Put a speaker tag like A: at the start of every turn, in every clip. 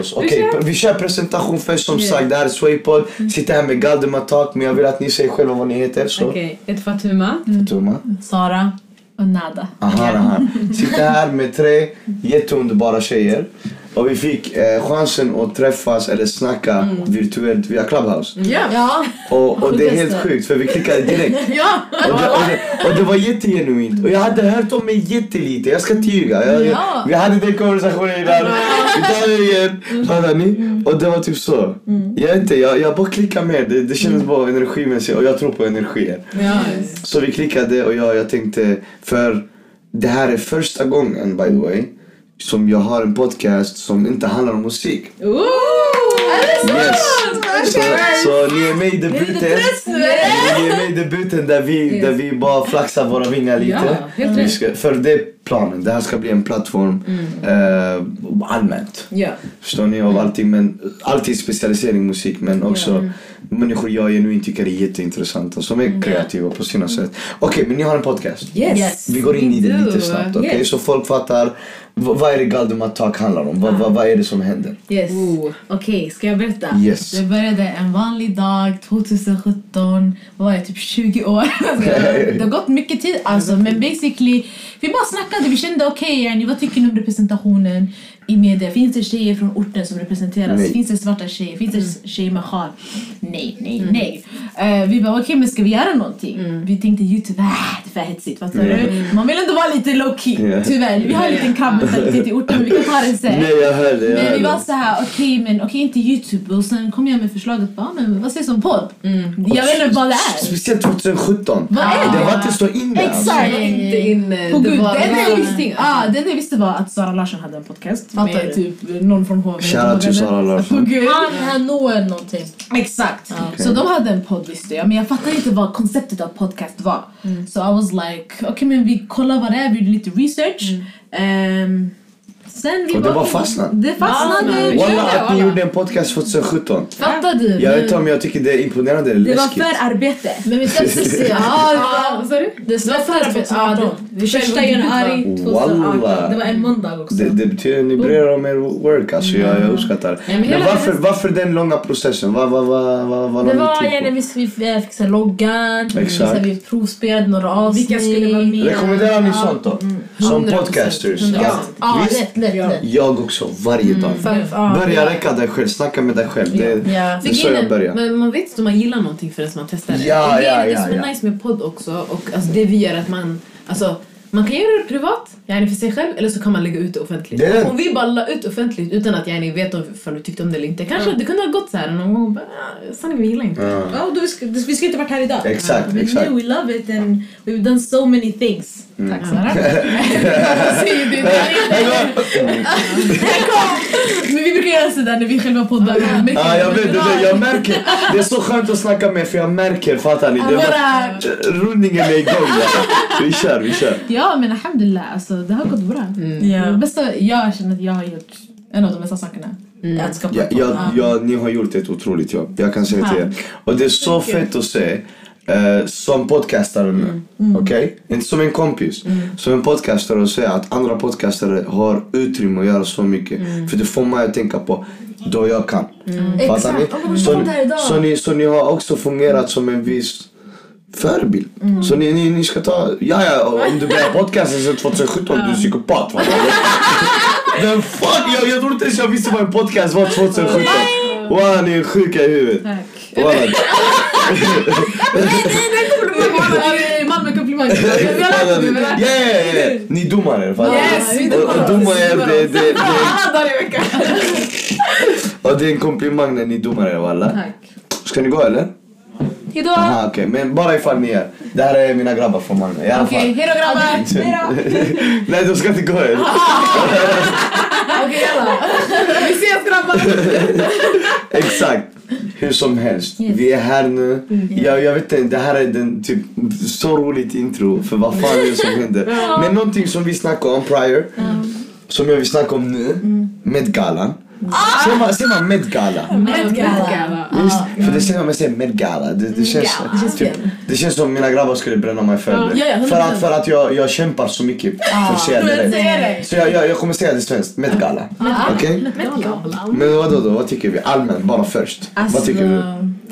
A: oss. Okej, vi kör presentation först som sagt. Det här är Swaypod. Sitter här med Galdemar Talk men jag vill att ni säger själva vad ni heter. Så.
B: Okej, ett Fatuma.
A: Tuma.
C: Sara och Nada.
A: Aha, aha. Sitter här med tre jätteunderbara tjejer. Och vi fick eh, chansen att träffas eller snacka virtuellt via Clubhouse.
B: Ja!
C: Ja,
A: Och, och det är helt
C: Sjukaste.
A: sjukt för vi klickade direkt.
B: Ja!
A: Och det, och det, och det var jättegenuint. Och jag hade hört om mig jättelite, jag ska inte ljuga. Jag, jag,
C: Ja.
A: vi hade den konversationen innan. Vi tar det igen. Fattar ni? Och det var typ så. Jag vet inte, jag, jag bara klickade med. Det, det kändes bara energimässigt och jag tror på energier.
B: Ja.
A: Så vi klickade och jag, jag tänkte, för det här är första gången by the way som jag har en podcast som inte handlar om musik.
B: Ooh!
A: Yes! Så, så ni är med i debuten. Ni är med i debuten där vi, där vi bara flaxar våra vingar lite.
B: Ja, helt
A: vi
B: rätt. Mm.
A: ska, för det är planen. Det här ska bli en plattform eh, allmänt.
B: Ja.
A: Förstår ni? Av allting, men, alltid specialisering musik men också människor jag genuint tycker är jätteintressanta som är kreativa på sina sätt. Okej, men ni har en podcast.
B: Mm. Yes!
C: Yes.
A: Vi går in i det
B: Vi
A: lite
B: do.
A: snabbt, okej?
B: Yes.
A: Så folk fattar. v- Vad är det Galdemar Talk handlar om? Vad, vad, vad är det som händer?
C: yes.
B: Ooh.
C: Okej, ska jag berätta?
A: Yes.
C: Det började en vanlig dag 2017. Vad var jag? Typ 20 år. det har gått mycket tid alltså. Men basically, vi bara snackade. Vi kände okej, okay, vad tycker ni om representationen i media? Finns det tjejer från orten som representeras?
A: Nej. Mm.
C: Finns det svarta tjejer? Finns det tjejer med sjal? Nej, nej, nej. Eh, vi bara okej, men ska vi göra någonting?
A: Mm.
C: Vi tänkte Youtube, ah, det är för hetsigt. Fattar du? Man vill ändå vara lite low key.
A: Ja.
C: Tyvärr. Vi har en liten krabbmentalitet i orten, men vi kan ta det sen.
A: Nej, jag hör det. Jag
C: Men
A: hör
C: vi var
A: det.
C: så här, okej men okej inte Youtube och sen kom jag med förslaget bara, men vad sägs om podd?
B: Mm.
C: Jag vet inte vad det är.
A: Speciellt 2017.
C: Vad är
A: Det
C: det?
A: var inte så inne.
C: Exakt.
A: Alltså.
B: Jag var inte inne.
C: På
B: Det
C: gud,
B: var-
C: det enda jag visste,
B: Ja.
C: ah, det enda jag visste var att Sara Larsson hade en podcast
B: Fattar
C: med
B: du?
C: typ någon från HV.
A: Shoutout till Sara Larsson.
C: På gud.
D: Han, han Noel någonting.
C: Exakt. Så de hade en podd visste jag, men jag fattade inte vad konceptet av podcast var.
B: Mm.
C: Så I was like, okej men vi kollar vad det är, vi gjorde lite research.
B: Mm.
C: Ehm, sen vi
A: Och det bara
C: okej,
A: fastnade.
C: Det fastnade.
B: Ja,
A: Walla
B: ja,
A: att ni
B: walla.
A: gjorde en podcast 2017.
C: Fattar du?
A: Jag vet inte om jag tycker det är imponerande eller
C: Mm. Det var
A: läskigt.
C: för arbete.
D: Men vi ska inte se.
B: Ja, vad sa du?
D: Det
C: förra
D: släpptes
C: 2018.
D: 2018. Vi
B: Första
D: första januari
B: debut,
D: 2018.
A: Walla.
D: Det var en måndag också.
A: Det, det betyder att ni bryr er om er work, alltså jag,
C: Mm.
A: jag uppskattar det.
B: men
A: men
B: hela
A: varför, varför den långa processen? Vad vad vad vad vad
D: Det
A: la ni
D: var
A: tid på?
D: igen när vi sk- vi fixade loggan, vi,
A: typ Exakt.
D: så här, vi provspelade några avsnitt.
B: Vilka skulle vara med?
A: Rekommenderar ni sånt då?
C: Mm.
A: Som podcasters?
B: 100%.
A: Ja.
D: Ja,
A: Visst,
D: lätt, lätt,
B: Ja.
D: lätt.
A: jag också, varje dag.
C: Mm.
D: Fan, ja.
A: Börja räcka dig själv, snacka med dig själv. Det,
D: Ja.
A: det är så jag börjar.
B: Men man vet inte om man gillar någonting förrän man testar det.
A: Ja,
B: och det
A: ja,
B: är det
A: ja,
B: som är
A: ja.
B: nice med podd också. Och alltså det vi gör att man, alltså, man kan göra det privat, yani för sig själv, eller så kan man lägga ut det offentligt.
A: Det är det.
B: Och vi bara la ut offentligt utan att yani vet om ifall vi tyckte om det eller inte. Kanske det kunde ha gått så här någon gång och bara, "Ah, sanningen vi gillar inte.
A: Ja.
D: Ja, och då vi, ska, vi skulle inte varit här idag.
A: Exakt,
D: We
A: exakt. Mm.
D: knew we love it and we've done so many things.
C: Tack Sara. Men vi brukar göra sådär när vi själva poddar. Vi märker
A: Ja, jag
C: att
A: vet, det,
C: vi
A: det, jag märker. Det är så skönt att snacka med för jag märker, fattar ni? Det var,
C: Våra...
A: rundningen är igång. alltså. Vi kör, vi kör.
C: Ja men alhamdulillah, alltså, det har gått bra.
A: Mm.
C: Det bästa jag känner att jag har gjort en av de bästa sakerna. Att skapa
A: Ja,
C: podd.
A: jag, jag, ni har gjort ett otroligt jobb, jag kan säga till er. Och det är så fett att se eh, som podcastare nu. Okej? Inte som en kompis. Som en podcastare och se att andra podcastare har utrymme att göra så mycket. För det får mig att tänka på då jag kan. Fattar ni?
D: Exakt. Ja, men vi
A: Så,
D: kom där idag.
A: så, ni, så ni har också fungerat som en viss förebild. Så ni, ni, ni ska ta... Ja, ja, om du börjar podcasten sen 2017, du är psykopat. va? Men fuck, jag, jag tror inte ens jag visste vad en podcast var 2017. Wow, ni är sjuka i huvudet.
C: Tack.
A: Wow.
B: Ah,
C: Eh, Malmö komplimang.
A: Yeah, yeah, yeah. Ni är domare. fattar du?
B: Yes, vi är
A: Och- och
B: domare.
A: domare, det, det, det,
B: Varje vecka.
A: och det är en komplimang när ni är domare walla.
C: Tack.
A: Ska ni gå eller?
C: Hejdå!
A: Aha, okej. Men bara ifall ni är. Det här är mina grabbar från Malmö. I alla
C: Okej,
A: fall.
C: hejdå grabbar!
A: Nej, de ska inte gå eller?
B: Okej jalla. Vi ses grabbar.
A: Exakt. Hur som helst. Vi är här nu. Jag, jag vet inte, det här är den typ så roligt intro för vad fan är det som händer. Men någonting som vi snackade om prior, som jag vill snacka om nu, med galan. Säger man, säger man Met-gala?
B: Met
E: Met-gala.
B: Gala.
A: Visst? För det säger man, man säger Met-gala. Det, det, känns,
B: Met-gala.
A: typ- det känns som mina grabbar skulle bränna mig för
B: Ja,
A: det.
D: ja, hundra
A: för att,
D: procent.
A: för att jag, jag kämpar så mycket för att säga det rätt. Så jag, jag, jag kommer säga det svenskt, Met-gala. Okej?
B: Met-gala.
A: Men vadå då? Vad tycker vi? Allmänt, bara först. Vad tycker du?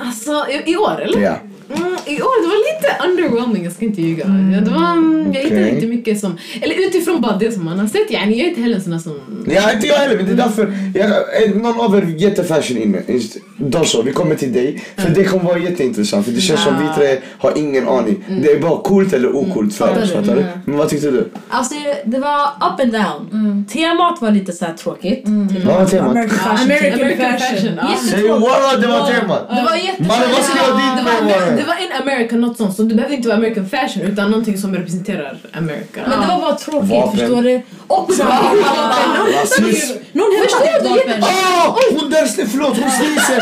B: Alltså, i, i år eller?
A: Ja.
B: Mm, I år, det var lite underwhelming, jag ska inte ljuga.
D: Mm.
B: Ja, Det var, mm, jag hittade
A: Okej.
B: inte mycket som... Eller utifrån bara det som man har sett. Yani, jag är inte heller en sån där som...
A: Ja, inte jag heller, men det är därför jag, eh, någon av er är jättefashion inne. Just- Då så, vi kommer till dig. För det kommer vara jätteintressant, för det känns som vi tre har ingen aning. Det är bara coolt eller ocoolt för oss,
D: Fattar du?
A: fattar du?
D: Mm.
A: Men vad tyckte du?
D: Alltså det var up and down.
A: Mm.
D: Temat var lite så här tråkigt.
A: Vad var temat?
D: American fashion.
B: American
D: fashion.
B: fashion, ja.
D: Jättetråkigt.
A: Säg walla, det var
D: Det
A: temat!
D: var jätte...
A: Mannen, vad ska jag dit
B: Det
A: med
B: var, det
A: walla?
B: var en American något sånt, så det behövde inte vara American fashion utan någonting som representerar America.
D: Men det var bara tråkigt,
A: Vapen.
D: förstår du? Och så
A: Rasism!
D: Någon hemma
B: Förstår du?
D: vapen.
A: Åh! Ah! Hon där snett, förlåt, hon snisen!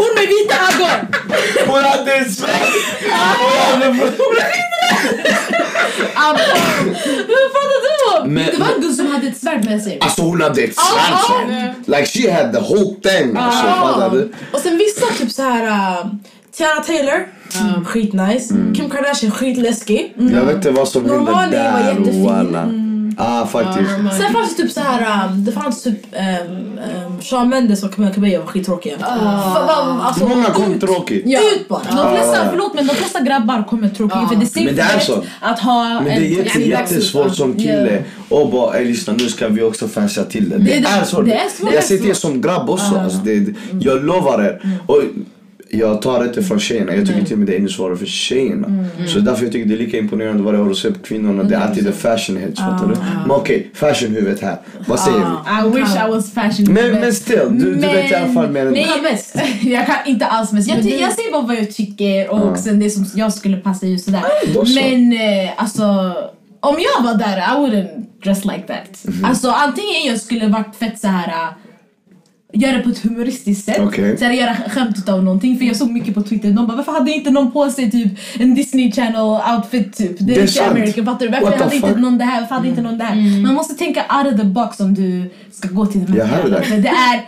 D: Hon med vita ögon!
A: Hon hade en smäll! Hon hade- Men-
E: Det var en gud som hade ett svärd med sig.
A: Alltså hon hade ett svärd! Like she had the whole thing! Alltså, fattar du?
C: Och sen vissa typ så här äh, Tiana Taylor, Mm, skitnice.
A: Mm.
C: Kim Kardashian, skitläskig.
E: Mm.
A: Jag vet inte vad som hände
C: Normani var
A: där
C: jättefin.
A: walla. Ah faktiskt.
C: Sen fanns det typ så här äh, det fanns typ um, Shawn Mendes och Camila Cabello var skittråkiga.
E: Ah.
C: Fan, vad- Alltså,
A: Många kom tråkigt.
C: Ut bara!
E: De flesta, förlåt men de flesta grabbar kommer
C: Ah.
E: tråkiga för det ser
A: Men det är
E: rätt
A: så.
E: att ha
A: Men det är jätte,
E: en-
A: jättesvårt som kille och bara "Ey, lyssna nu ska vi också fansa till det.
E: Det
A: Det
E: är-
A: är svårt.
E: det är svårt.
A: Jag säger det som grabb också. Alltså, det, det- jag lovar er.
E: Mm.
A: Och jag tar det inte från tjejerna. Jag tycker till och med det är ännu svårare för tjejerna.
E: Mm.
A: Så därför jag tycker det är lika imponerande vad jag har att se på kvinnorna. Det är alltid the fashion heads. Fattar du?
E: Ah.
A: Men okej, fashionhuvudet här. Vad säger vi?
B: Ah,
E: I wish I was fashion
A: Men, men still, du, du vet i alla fall mer än
E: Nej, jag, mest. jag kan inte alls mest. Jag, ty- jag säger bara vad jag tycker och sen det som jag skulle passa just sådär.
A: Ah, då så.
E: Men eh, alltså, om jag var där, I wouldn't dress like that.
A: Mhm.
E: Alltså antingen jag skulle varit fett så här. eh, Göra det på ett humoristiskt sätt.
A: Okej.
E: Så här, göra skämt utav någonting. För jag såg mycket på Twitter. De bara, varför hade inte någon på sig typ en Disney Channel outfit typ? Det
A: är
E: är inte
A: sant.
E: American, fattar du?
A: What
E: Varför
A: the
E: hade inte
A: fuck?
E: någon det här? Varför hade inte någon det här? Man måste tänka out of the box om du ska gå till de
A: Jag hör
E: här
A: det.
E: Men det är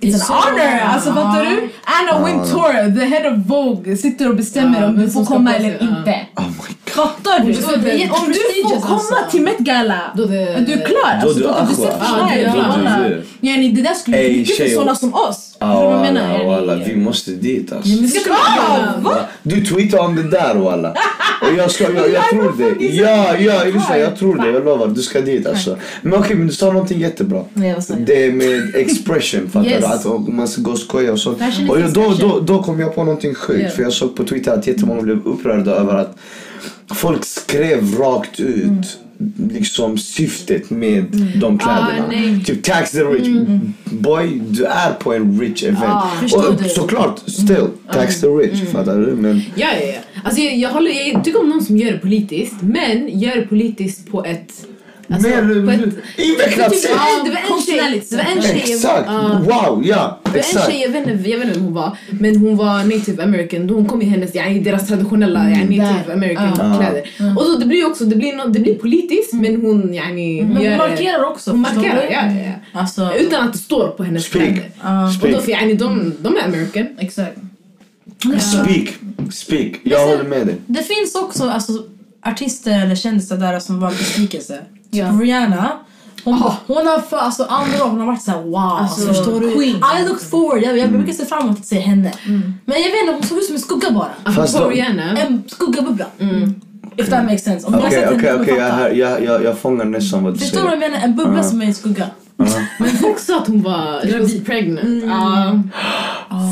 E: It's an honor! Alltså fattar du? Anna Wintour, the head of Vogue, sitter och bestämmer
B: Ja,
E: om
B: vem
E: du
B: som
E: får
B: ska
E: komma
B: på sig,
E: eller
B: ja.
E: inte.
A: Oh my god.
E: Fattar du?
B: Förstår du? Det är
E: Om du får
B: jätteprestigious,
E: komma
B: alltså.
E: till Met Gala,
B: Då det-
E: du är klar.
A: Då
E: Alltså,
A: du
E: fattar du? Du
A: Aqua.
E: sätter
B: Ja, det-
E: förslag.
B: då
A: du-
E: Walla. Yani, Det där skulle
A: Ey,
E: bli mycket för
A: tjejer.
E: sådana som oss.
A: Ah,
E: Förstår du vad jag
A: walla,
E: menar?
A: walla,
E: Yani,
A: vi måste dit alltså.
E: vi ska vara-
A: Du tweetade om det där walla. Och jag, ska, jag, jag tror dig. Ja, ja, lyssna, jag tror dig. Jag lovar, du ska dit alltså. Men okej, men du sa någonting jättebra.
B: Alltså,
A: Det med expression, fattar
E: Yes.
A: du? Att och man ska gå och skoja och sånt.
E: Fashion is
A: Och jag, då, då,
E: expression.
A: då kom jag på någonting sjukt. För jag såg på Twitter att jättemånga blev upprörda över att folk skrev rakt ut
B: Mm.
A: Liksom syftet med
B: Ah,
A: de kläderna. typ tax the rich.
B: Mm.
A: Boy, du är på en rich
B: Ah,
A: event. och såklart,
B: Mm.
A: still, tax the rich. Fattar du? Men
B: Ja, ja, ja. Alltså, jag, jag, håller, jag tycker om någon som gör det politiskt, men gör det politiskt på ett... Alltså, på
A: mer
B: ett
A: invecklat
B: Det
A: sätt.
B: var en- det var en tjej, det typ var en tjej,
A: Exakt!
B: ja.
A: Wow, ja!
B: Det var en
A: Exakt!
B: tjej, jag vet, inte, jag vet inte vem hon var, men hon var native american. Hon kom i hennes, yani, deras traditionella yani, native american kläder. Och så det blir ju också, det blir, nå- det blir politiskt Mm. men hon yani,
D: Men
B: gör-
D: hon markerar också.
B: Hon
D: förstår
B: markerar, Mm.
D: du?
B: ja, ja,
D: Alltså,
B: ja. Utan att det står på hennes
A: Speak.
B: kläder. Ah. Och då, för yani, de, de är american.
D: exakt.
A: Speak, speak. Jag håller med dig.
C: Det finns också alltså, artister eller kändisar där som var en besvikelse. Typ
D: Ja.
C: Rihanna. Hon,
E: Ah.
C: hon har för, alltså, andra år, hon har varit såhär wow. Alltså, förstår du?
D: queen.
C: I look forward. Jag, jag brukar se fram emot att se henne.
E: Mm.
C: Men jag vet inte, hon såg ut som en skugga bara.
A: Fast
B: Apropå
A: de-
B: Rihanna.
C: En skuggabubbla.
E: Mm.
C: If that makes sense. Om ni har sett
A: Okej,
C: henne,
A: okej,
C: ni
A: okej.
C: kommer
A: jag
C: fatta.
A: hör- Ah. Jag jag- jag fångar nästan vad du
C: Förstår du vad
A: säger.
C: jag menar? En bubbla som är en skugga.
B: Men folk sa att hon var she was pregnant. Ja.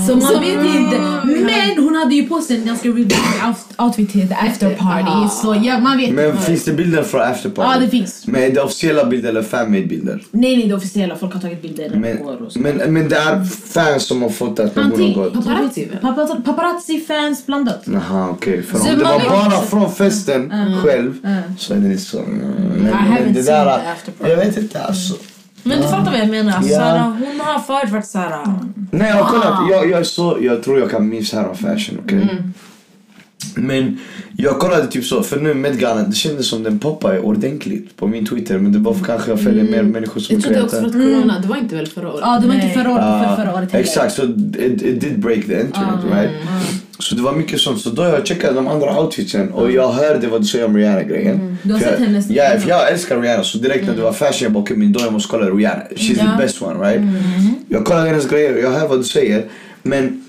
E: Så man vet inte. Men hon hade ju på sig en ganska revealing out- outfit till the after party. Så ja, man vet
A: Men
E: inte.
A: finns det bilder från
E: Ja, det
A: afterparty?
E: finns.
A: Men är det officiella bilder eller fanmade bilder?
E: Nej, nej, det officiella. Folk har tagit bilder.
A: Men,
E: och- och så.
A: men, men det är fans som har fotat med
B: Antingen
A: något.
B: paparazzi väl?
E: Pappa- Paparazzi-fans blandat.
A: Jaha, okej. För
E: Så
A: om det
E: man
A: var
E: vet
A: bara
E: också-
A: från festen själv så är det liksom... mm, Men, men det
C: haven't seen
A: där...
C: the afterparty.
A: Jag vet inte alltså.
C: Men du fattar vad jag menar. Alltså,
A: Ja.
C: såhär, hon har förut varit såhär...
B: Ah. Mm.
A: Nej, jag har kollat. Jag, jag, är så, jag tror jag kan missa här om fashion, okej? Men jag kollade typ så, för nu med galan, det kändes som den poppade ordentligt på min Twitter. Men det var för kanske jag följer mer människor som
B: Mm. Jag tror det är också för
A: kreatörer.
B: att corona, det var inte väl förra året?
E: Ja, det var inte
D: Nej.
E: förra året,
A: Ah,
E: för förra året heller. Ah,
A: Exakt, så it, it did break the internet right? Så det var mycket sånt. Så då jag checkade de andra outfitsen och jag hörde vad du säger om Rihanna-grejen.
E: Ah. Mm. Du har
A: För
E: sett
A: jag-
E: hennes- Mm.
A: Ja, för jag älskar Rihanna. Så direkt när det var fashion, jag bara okej min då jag måste kolla Rihanna. She's the best one right?
E: Mm.
A: Jag kollade hennes grejer och jag hör vad du säger. Men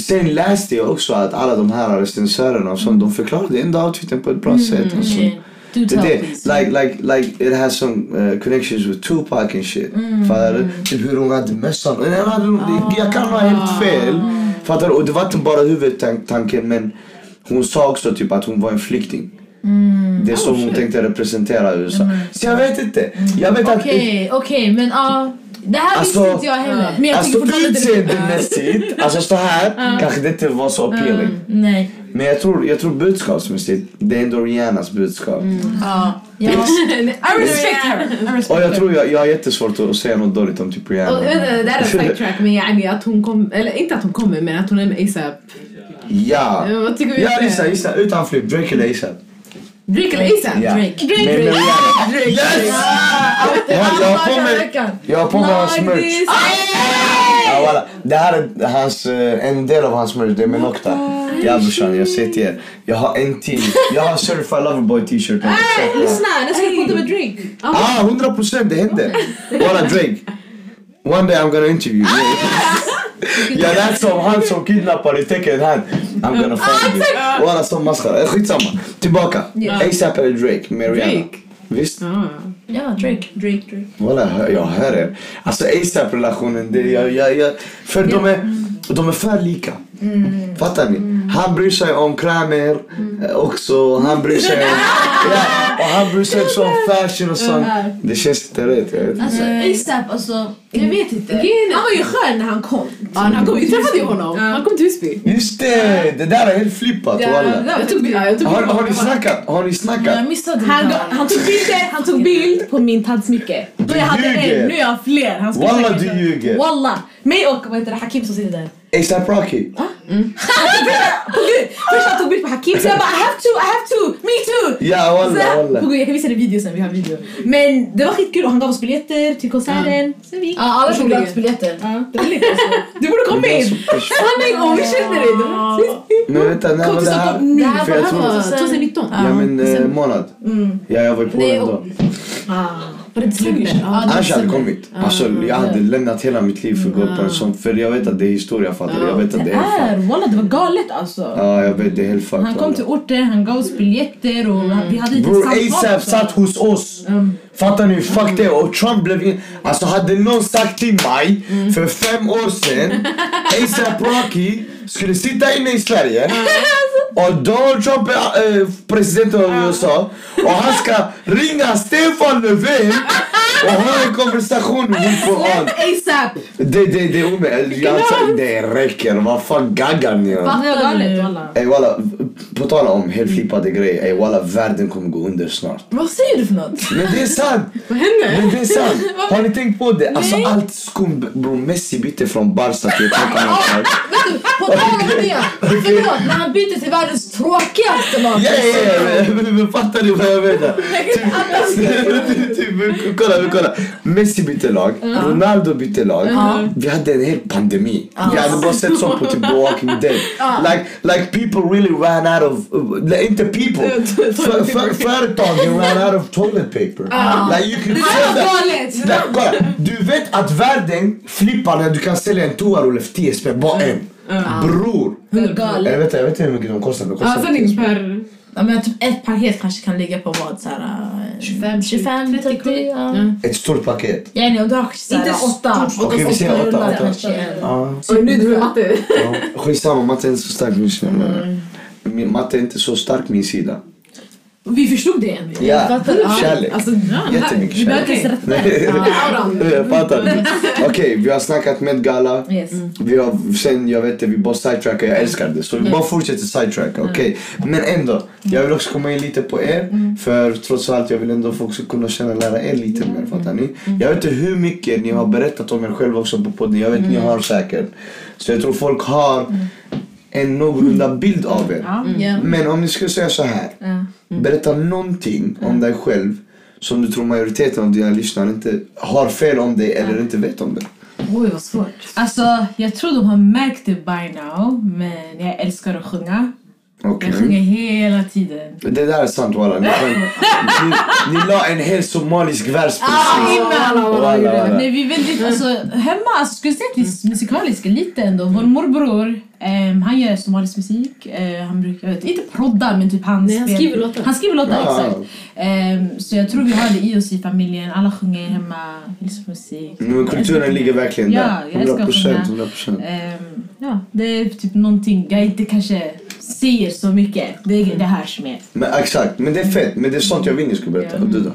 A: sen läste jag också att alla de här recensörerna och sånt, de förklarade ändå outfiten på ett
E: Mm.
A: bra sätt. Alltså.
E: Du
A: Det,
E: tar
A: det,
E: please.
A: like, like, like it has some uh, connections with Tupac and shit.
B: Mm.
A: Fattar du? Typ hur hon hade mössan. Och jag hade-
B: Ah.
A: Jag kan vara helt fel. Fattar du? Och det var inte bara huvudtanken men hon sa också typ att hon var en flykting.
B: Mm.
A: Det är
B: Oh,
A: så hon tänkte representera USA. Så jag vet inte.
B: Mm.
A: Jag vet att...
D: Okej, okej, men ja. det här
A: Alltså,
D: visste inte jag heller.
B: Men jag
A: Alltså
B: tycker fortfarande
A: pizza är
B: det
A: det mest hit. Alltså så här kanske det inte var
B: Mm.
A: så appealing.
D: Nej.
A: Men jag tror, jag tror budskapsmässigt, det är ändå Rihannas budskap.
B: Mm.
D: Jag,
B: I respect her! I respect
A: Och jag tror jag, jag har jättesvårt att säga något dåligt om typ Rihanna.
B: Och, vänta, det här är sidetrack men yani att hon kom, eller inte att hon kommer men att hon är med ASAP.
A: Ja!
B: Eh, Vad tycker vi?
A: Ja, gissa, gissa. Utan flyg. Drake eller ASAP?
B: Drake eller ASAP?
A: Ja.
B: Drake. Drake.
A: Men
B: Drake.
A: Rihanna. Yes! Jag, jag har på mig,
D: veckan.
A: jag har på mig hans merch.
E: Ah,
A: Ja, voilà. Det här är hans, eh, en del av hans merch. Det är Menocta. Ja brorsan, jag ser till er. Jag har en till. Jag har Certified Loverboy t-shirt.
C: Lyssna, jag ska prata med Drake.
A: Ah, 100 procent. Det hände. Voilà Drake. One day I'm gonna interview you. Ja, det är som han som kidnappade täcket han. I'm gonna find you. Walla som maskara. Eh, Skitsamma. Tillbaka. ASAP eller Drake med Rihanna.
B: Drake.
A: Visst?
B: Ja.
D: ja, Drake.
C: Drake, Drake.
A: Walla, hör- jag hör er. Alltså ASAP-relationen, det, jag, jag, jag, för de, är, de är för lika. Fattar ni? Han bryr sig om Kramer eh, också. Han bryr sig om, ja, och han bryr sig också om fashion och sånt. Det känns inte rätt. Jag vet. inte.
E: Alltså, ASAP, alltså. Jag vet inte. Han var ju skön när han kom.
B: Ja, han kom, Ah, vi träffade ju honom. Han kom till Husby.
A: Just det! Det där är helt flippat walla.
B: Jag tog bild. Jag tog
A: Har,
B: bild.
A: har ni snackat? Har ni snackat?
E: Jag missade
C: Han,
E: det.
C: han tog bilder, han tog bild på min tandsmycke. Då jag hade
A: ljuger.
C: en, nu är jag fler. Han skulle
A: Walla
C: säkert-
A: du ljuger!
C: Walla! Mig och vad heter det, Hakim som sitter där.
A: ASAP Rocky!
C: På gud! Först han tog bild på Hakim så jag bara I have to, I have to, me too!
A: Ja
C: Så
A: walla
C: här, på
A: walla!
C: gud, jag kan visa dig video sen, vi har video. Men det var skitkul och han gav oss biljetter till konserten. Sen vi gick.
D: Ja, alla tog gratisbiljetter.
C: Du borde komma
A: Det är
C: in!
A: så pers-
B: Nej, åh, vi kände dig. Det var-
A: Men vänta, när
C: Kom
A: var
C: till
A: det här?
C: Stockholm nu!
B: Det här
A: För jag tror-
B: var 2019.
A: Ja men eh, månad. Ja jag var i Polen då.
B: Var det december? Ja.
A: Annars hade jag kommit. Alltså jag hade lämnat hela mitt liv för att gå på en sån. För jag vet att det är historia fattar du? Jag vet att det
E: Det
A: är helt fucked.
E: är, walla det var galet alltså.
A: Ja jag vet det är helt fucked.
E: Han kom
A: walla.
E: till orten, han gav oss biljetter och vi hade lite
A: Bror
E: samtal.
A: ASAP
E: också.
A: satt hos oss. Fattar ni? Fuck det. Och Trump blev... in- Alltså hade någon sagt till mig för fem år sedan ASAP Rocky skulle sitta inne i Sverige och Donald Trump är eh, president av USA och han ska ringa Stefan Löfven och ha en konversation with på on.
E: ASAP!
A: Det, det, det, är omöjligt. Jag sa, det räcker. Vad fan gaggar ni? om?
E: Det var galet walla.
A: Ey walla, på tal om helt flippade grejer. Ey walla, världen kommer gå under snart.
C: Vad säger du för något?
A: Men det är sant!
B: Vad hände?
A: Men det är sant! Har ni tänkt på det? Alltså allt skum... Bror Messi bytte från Barca till ett helt annat lag.
D: På tal om det. Förlåt, när han byter till världens tråkigaste lag.
A: Ja, ja, ja, men- men fattar ni vad jag menar? Typ- typ, kolla, men kolla. Messi bytte lag, Ronaldo bytte lag. Vi hade en hel pandemi. Vi hade bara sett sånt på typ The Walking Dead. Like, like people really ran out of, uh, inte people, För- för- företagen ran out of toilet paper. Like you can tell that-
D: Galet.
A: Nej, kolla. Du vet att världen flippar när du kan sälja en toarulle för 10 spänn, bara en. Bror! Jag vet, jag vet inte hur mycket de kostar. De
B: Mm. Ja,
A: kostar 10
B: sanning
A: spänn.
B: för...
C: Ja, men typ ett paket kanske kan ligga på vad? Så här, eh,
D: 25, 30. ja.
E: Mm.
A: Ett stort paket.
C: Yani om du har så här,
D: Inte
C: åtta.
A: Okej, vi säger åtta, åtta. Ja.
B: Och nu du matte.
A: Ja. Skitsamma, matte är inte så stark min sida.
B: Mm.
A: Min matte är inte så stark min sida.
C: Vi förstod det än.
A: Ja, kärlek.
B: Alltså, ja,
A: Jättemycket
C: Vi behöver
A: kärlek.
C: inte rätta.
B: auran.
A: Jag fattar.
B: Mm.
A: ni? Okej, vi har snackat med Gala.
C: Yes.
E: Mm.
A: Vi har, sen, jag vet inte, vi bara sidetrackar. Jag älskar det. Så vi
E: Mm.
A: bara fortsätter sidetracka, okej? Men ändå, jag vill också komma in lite på er.
E: Mm.
A: För trots allt, jag vill ändå få också kunna känna lära er lite
E: Mm.
A: mer, fattar ni? Jag vet inte hur mycket ni
E: Mm.
A: har berättat om er själva också på podden. Jag vet, ni har säkert. Så jag tror folk har en någorlunda bild av er.
E: Ja. Mm.
C: Ja.
A: Men om ni skulle säga så här.
E: Ja.
A: Berätta någonting
E: Mm.
A: om dig själv som du tror majoriteten av dina lyssnare inte har fel om dig eller inte vet om det.
E: Oj, vad svårt. Alltså, jag tror de har märkt det by now, men jag älskar att sjunga.
A: Okej.
E: Jag sjunger hela tiden.
A: Det där är sant walla. Ni, ni, ni la en hel somalisk vers precis.
E: Innan!
A: Walla, walla.
E: Nej, vi är väldigt, alltså, hemma alltså, skulle jag säga att vi är musikaliska lite ändå. Vår
A: Mm.
E: morbror, ehm, han gör somalisk musik. Eh, han brukar, jag vet, inte prodda, men typ han,
B: Nej, han
E: spelar-
B: skriver låtar.
E: Han skriver låtar,
A: Wow.
E: exakt. Ehm, så jag tror vi har det i oss i familjen. Alla sjunger hemma, lyssnar på musik.
A: Mm, Men kulturen ligger verkligen
E: Ja,
A: där.
E: jag älskar att
A: 100%.
E: sjunga.
A: 100%.
E: Ehm, ja, det är typ någonting jag inte kanske säger så mycket. Det
A: Mm.
E: är det här som är.
A: Men exakt, men det är fett. Men det är sånt jag vill ni ska berätta. Och du då?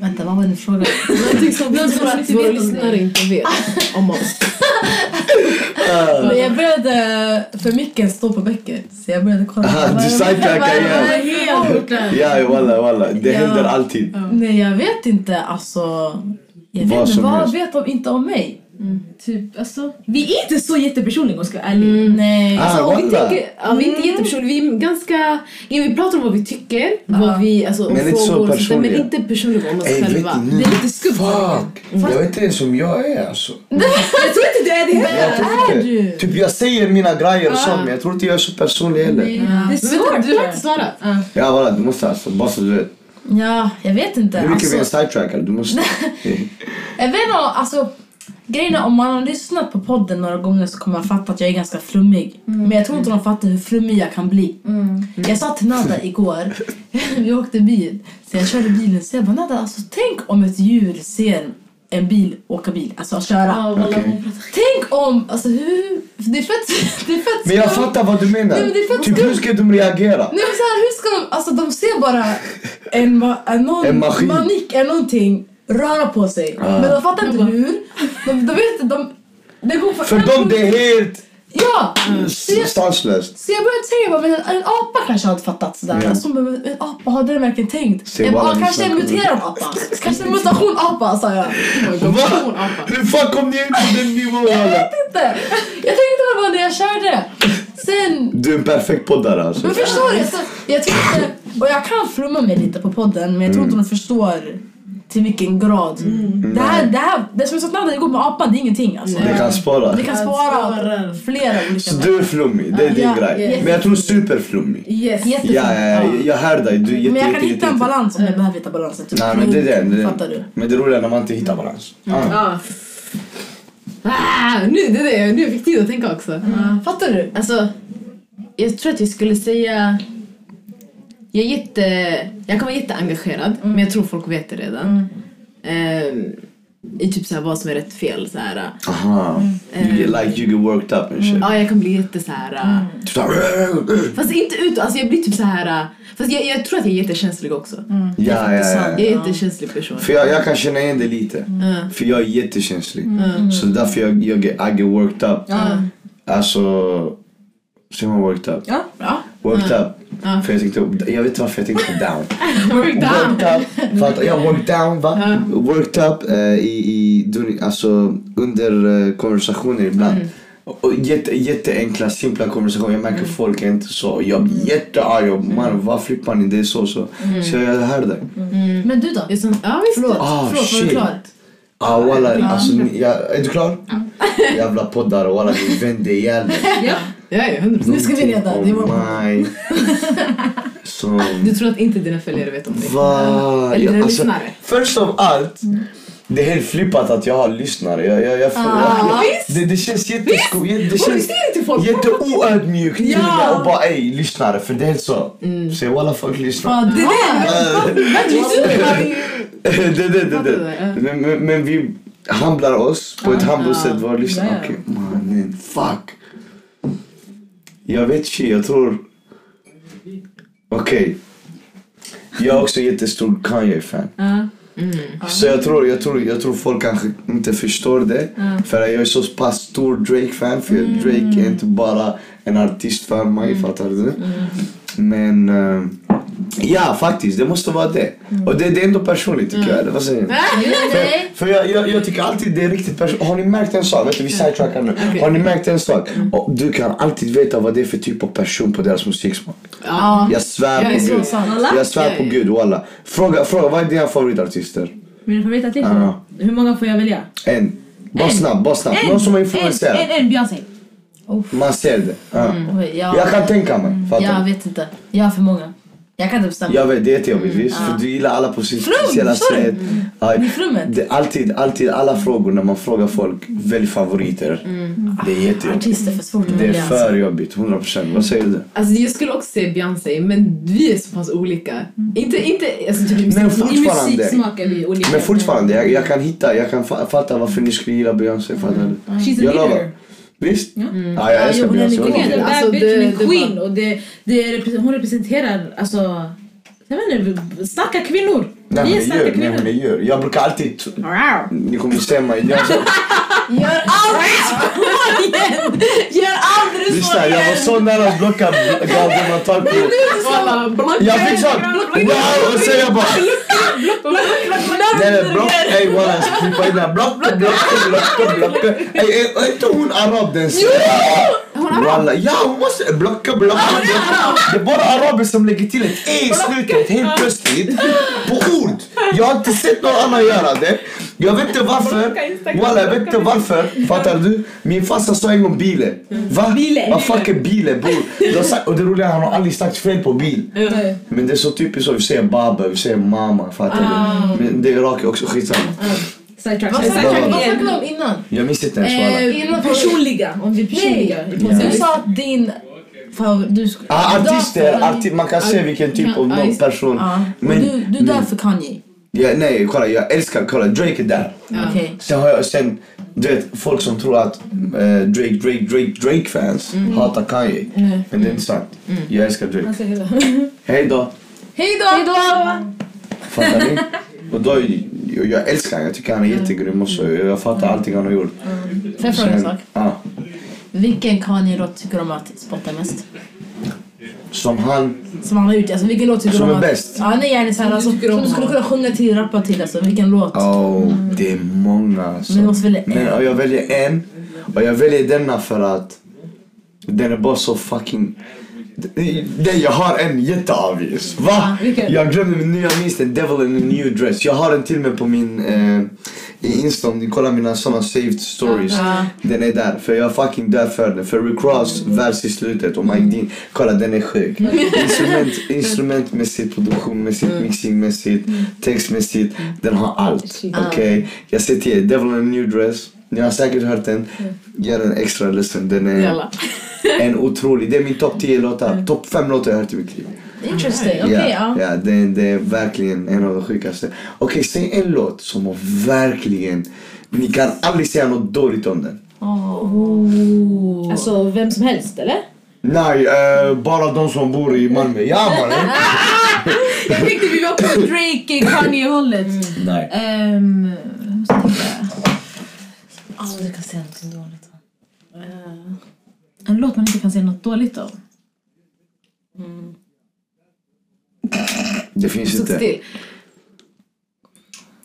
C: Vänta, vad var din fråga?
B: Någonting som vi
C: Någonting
B: tror
C: som
B: att
C: vi
B: våra
C: vet om
B: lyssnare inte vet om oss.
C: Men jag började för mycket stå på bäcket. Så jag började kolla.
A: Aha,
C: Vad-
A: du sidetrackar
C: vad- vad-
A: igen. Ja, walla, walla. Det
C: Ja.
A: händer alltid.
C: Nej, jag vet inte. Alltså, jag
A: Vad
C: vet inte.
A: som
C: Vad
A: helst.
C: vet de inte om mig?
E: Typ, alltså, vi är inte så jättepersonliga om jag ska vara ärlig. Mm.
C: Nej.
A: Ah,
B: Alltså, om vi
A: walla.
B: tänker, ja, vi är inte jättepersonliga, vi är ganska... Ja, vi pratar om vad vi tycker, vad vi, alltså, om
A: Men inte så
B: frågor och sånt där, men
A: personliga.
B: inte personliga om oss
A: Ey, vet
B: själva.
A: ni?
B: Det är lite skumt.
A: Fuck! Jag vet inte ens om jag är alltså.
B: Jag tror inte du är det heller.
A: Jag tror inte. Typ jag säger mina grejer och sånt men jag tror inte jag är så personlig heller.
C: Ja.
B: Men vänta, du har inte svarat.
A: Ja walla, du måste alltså. Bara så du vet.
C: ja, jag vet inte.
A: Hur mycket vi än
C: Alltså,
A: sidetrackar, du måste.
C: jag vet inte, alltså, grejen är om man har lyssnat på podden några gånger så kommer man fatta att jag är ganska flummig. Men jag tror inte de fattar hur flummig jag kan bli. Jag sa till Nada igår, vi åkte bil, så jag körde bilen så jag bara Nada, alltså, tänk om ett djur ser en bil åka bil, alltså köra.
A: Okej.
C: Tänk om, alltså hur, för det är fett, det är fett
A: Men jag
C: skumt.
A: fattar vad du menar.
C: Nej, men det är fett
A: Typ hur ska de reagera?
C: Nej men såhär, hur ska de, alltså de ser bara en, ma- en, någon,
A: En maskin.
C: manik eller någonting röra på sig. Men de fattar inte hur. De, de vet inte, de, det går
A: För dem det är helt Mm.
C: Ja!
A: s- sanslöst.
C: Så jag började säga bara, men en, en apa kanske hade fattat sådär.
A: Ja.
C: Alltså, men, en apa, hade den verkligen tänkt?
A: Se,
C: jag bara,
A: walla,
C: ah,
A: ni
C: kanske en
A: snackar.
C: muterad apa. Kanske en mutation apa sa jag.
A: Va? Hur fan kom ni in på den nivån alla?
C: Inte. Jag tänkte bara på det när jag körde. Sen
A: Du är en perfekt poddare alltså.
C: Men förstår du? Så jag tror inte, och jag kan flumma mig lite på podden men jag tror
A: Mm.
C: inte de förstår till vilken grad. Det, här, det, här, det som är så knallt igår med apan det är ingenting alltså.
A: Det kan spara.
C: Det kan spara flera olika
A: Så du är flummig, det är din
C: Ja,
A: grej.
C: yes.
A: Men jag tror superflummig.
B: Yes.
C: Jättefint.
A: Ja, ja, ja, jag hör dig. Du är jätte,
C: Men jag kan
A: jätte,
C: hitta en
A: jätte-
C: balans om jag behöver hitta balansen. Typ.
A: Nej men det är det. det.
C: Fattar du? Mm.
A: Men det roliga är när man inte hittar balans. Ah.
B: Ja. Ah, nu, det är det. nu fick jag tid att tänka också.
C: Fattar du?
B: Alltså, jag tror att jag skulle säga... Jag, är jätte, jag kan vara jätteengagerad, men jag tror folk vet det redan. Ehm, I typ så här vad som är rätt fel. Så här.
A: Aha.
C: Mm.
A: You get like you get worked up and shit.
B: Ja, jag kan bli jätte så här...
A: Typ såhär.
B: Fast inte ut, alltså jag blir typ så här... Fast jag, jag tror att jag är jättekänslig också.
A: Ja, ja,
B: Jag
A: Mm. ja.
B: är jättekänslig person. Mm.
A: För jag, jag kan känna igen det lite. För jag är jättekänslig. Så därför jag, jag, get- I get worked up. Alltså, säger man worked up?
C: Ja. ja.
A: Worked up. För jag tänkte, jag vet inte varför jag tänkte down.
B: Worked down.
A: Worked up. Fattar jag worked down va? Worked up eh, i, i dun- alltså, under eh, konversationer ibland. Och jätte, jätteenkla, simpla konversationer. Jag märker folk är inte så. Jag blir jättearg. Jag, man, vad flippar ni? Det är så så. Så jag hör dig.
C: Men du
B: Mm.
C: då?
B: Jag är sån- Ja, visst.
C: Förlåt,
A: Ah,
C: förlåt var du
A: shit.
C: klar?
A: Ah, walla, alltså, ni, jag, är du klar? Jävla poddar, walla, ni vände ihjäl mig.
B: Ja, ja, 100%.
C: Nu ska vi reda, det är vår
A: Oh my. Som...
B: Du tror att inte dina följare vet om dig?
A: Va?
B: Eller
A: Ja, alltså,
B: dina lyssnare.
A: först av allt, det är helt flippat att jag har lyssnare. Jag, jag, jag,
C: Ah.
A: jag, det, det känns jätteskoj. Det känns jätteoödmjukt till mig och bara ey, lyssnare. För det är helt så.
C: Mm.
A: Säg walla folk lyssnar.
C: Det är det!
A: Eh, det, det, det,
B: Fattar du? Ja.
A: det. Men, men, men vi handlar oss på ett humble sätt. Våra lyssnare.
C: Ah, Ja, ja.
A: Okej, mannen. Fuck. Jag vet inte, jag tror... Okej. Jag är också jättestor Kanye-fan.
B: Mm.
C: Ah.
A: Så jag tror, jag, tror, jag tror folk kanske inte förstår det.
C: Ah.
A: För jag är så pass stor Drake-fan. För
C: Mm. Mm.
A: Drake är inte bara en artist för mig, fattar du? Men eh, Ja, faktiskt. Det måste vara det.
C: Mm.
A: Och det, det är ändå personligt tycker jag. Vad säger ni?
C: Nej.
A: Eh, För jag, jag, jag tycker alltid det är riktigt personligt. Har ni märkt en sak? Vet du, vi sidetrackar nu.
B: Mm. Okej. Mm.
A: Har ni märkt en sak? Och du kan alltid veta vad det är för typ av person på deras musiksmak.
B: Ja.
A: Jag svär
B: Ja, det är
A: på
B: så
A: gud.
B: sant.
A: Jag svär på
B: Ja, ja.
A: gud, walla. Fråga, fråga, vad är dina favoritartister?
C: Mina favoritartister?
A: Ja.
C: Hur många får jag välja?
A: En. Bara
C: En.
A: snabbt, bara snabbt. Någon som har influenserat.
E: En, en, en Beyoncé.
A: Man ser det. Ja.
B: Mm.
C: Oj, jag,
A: Jag kan tänka mig. Fattar
C: jag
A: du?
C: vet inte. Jag har för många. Jag kan typ inte bestämma.
A: Jag vet, det är jättejobbigt visst.
B: Mm.
A: För du gillar alla på sitt speciella
C: förstår du?
A: sätt. Ja,
C: I flummet.
A: det är alltid, alltid alla frågor när man frågar folk, välj favoriter.
B: Mm.
A: Det är jättejobbigt.
C: Artister är för svårt att
A: Det är
C: välja. alltså.
A: för jobbigt, 100%. Vad säger du?
B: Alltså jag skulle också säga Beyoncé, men vi är så pass olika. Inte, inte, alltså typ i musik.
A: Men
D: I
A: fortfarande.
D: musik smakar vi olika.
A: Men fortfarande, jag, jag kan hitta, jag kan fa- fatta varför ni skulle gilla Beyoncé. Fattar du?
D: She's a
A: Jag
D: leader.
A: lovar. Visst? Ja, jag älskar
C: jo, hon är
A: Beyoncé.
C: lite
A: hon
D: Hon
A: är
D: är en
A: bra.
B: Alltså,
D: bad bitch,
B: det-
D: hon är
B: det var-
D: queen. Och det, det, repre- hon representerar alltså, jag vet inte, starka kvinnor.
A: Nej,
D: vi
A: hon
D: är
A: är
D: starka
A: djur. Nej,
D: kvinnor.
A: hon är djur. Jag brukar alltid... Ni kommer stämma. Jag,
C: Gör allt! Gör aldrig så
A: lyssna, jag var så nära att blocka Gabriel Matalko.
B: Alla block-
A: Jag fick sån... Wow! Och sen jag bara... Nej, nej, block. Ey, walla. Klippa in den. Block, block, block, block. Ey, ey, är inte hon arab den? Walla, ja hon måste... Blocka, blocka, blocka. Det är bara araber som lägger till ett e i slutet helt plötsligt. På ord. Jag har inte sett någon annan göra det. Jag vet inte varför. Walla, jag vet inte varför. Fattar du? Min farsa sa en gång bile. Va?
D: Bile.
A: Vad fuck är bile bror? Jag har sagt- Och det roliga är att han har aldrig sagt fel på bil.
D: Nej.
A: Men det är så typiskt så, vi säger baba, vi säger mamma, fattar
C: Ah.
A: du? Men det är Irak är också skitsamma.
D: Sidetrack. Sidetrack.
C: Vad snackade
A: Sidetrack
C: vad snackade
D: igen.
C: vi om innan? Eh,
A: Jag minns inte ens walla.
C: Innan
D: Personliga.
C: Om vi är personliga.
A: Ja.
C: Du sa att din favorit... Du sk-
A: Ah,
C: du dör
A: artister,
C: för-
A: arti man kan se vilken typ av någon person.
C: Ja. Men,
A: Men, Mm.
C: du, du dör för Kanye.
A: ja, nej kolla jag älskar, kolla Drake är där.
C: Okej.
A: Sen har jag, sen, du vet folk som tror att eh, Drake, Drake, Drake, Drake-fans
C: Mm.
A: hatar Kanye. Men det är inte sant. Jag älskar Drake. Hej då.
C: Hej då! Hej då!
A: Fattar ni? Och då, jag, jag älskar honom, jag tycker han är jättegrym också. Jag fattar allting han har gjort.
C: Mm. Får jag fråga en sak?
A: Ja.
C: Vilken Kanye-låt tycker du om att spotta mest?
A: Som han...
C: Som han har gjort. Alltså vilken låt tycker
A: Som
C: du om
A: är
C: att-
A: bäst?
C: Ja, nej, yani såhär alltså. Som du skulle kunna sjunga till, rappa till. Alltså vilken låt?
A: Oh, det är många alltså.
C: Mm. Men du måste välja en.
A: Men, och jag väljer en. Och jag väljer denna för att den är bara så fucking... Nej, jag har en jätteobvious. Va?
D: vilken?
A: Jag glömde min nya minst den, Devil in a new dress. Jag har den till och med på min eh, i Insta om ni kollar mina såna saved stories. Den är där, för jag är fucking dör för den. För Rick Ross vers i slutet och Mike Dean, kolla den är sjuk. Instrument, instrumentmässigt, produktionmässigt, mixingmässigt, textmässigt. Den har allt. Okej? Jag säger till er, Devil in a new dress. Ni har säkert hört den. Gör en extra listen. Den är
B: Jalla.
A: en otrolig. Det är min topp 10 låtar. Topp 5 låtar jag har hört i mitt liv.
C: Interesting. Okej, ja.
A: ja. ja det, det är verkligen en av de sjukaste. Okej, säg en låt som har verkligen... Ni kan aldrig säga något dåligt om den.
D: Alltså vem som helst eller?
A: Nej, eh, bara de som bor i Malmö. Ja, mannen!
E: Jag tänkte vi var på Drake, Kanye-hållet.
A: Mm. Nej.
E: Ehm, vad ska jag tänka?
C: Aldrig kan säga någonting dåligt.
E: en låt man inte kan säga något dåligt om.
A: Det finns
B: Så
A: inte.
B: still.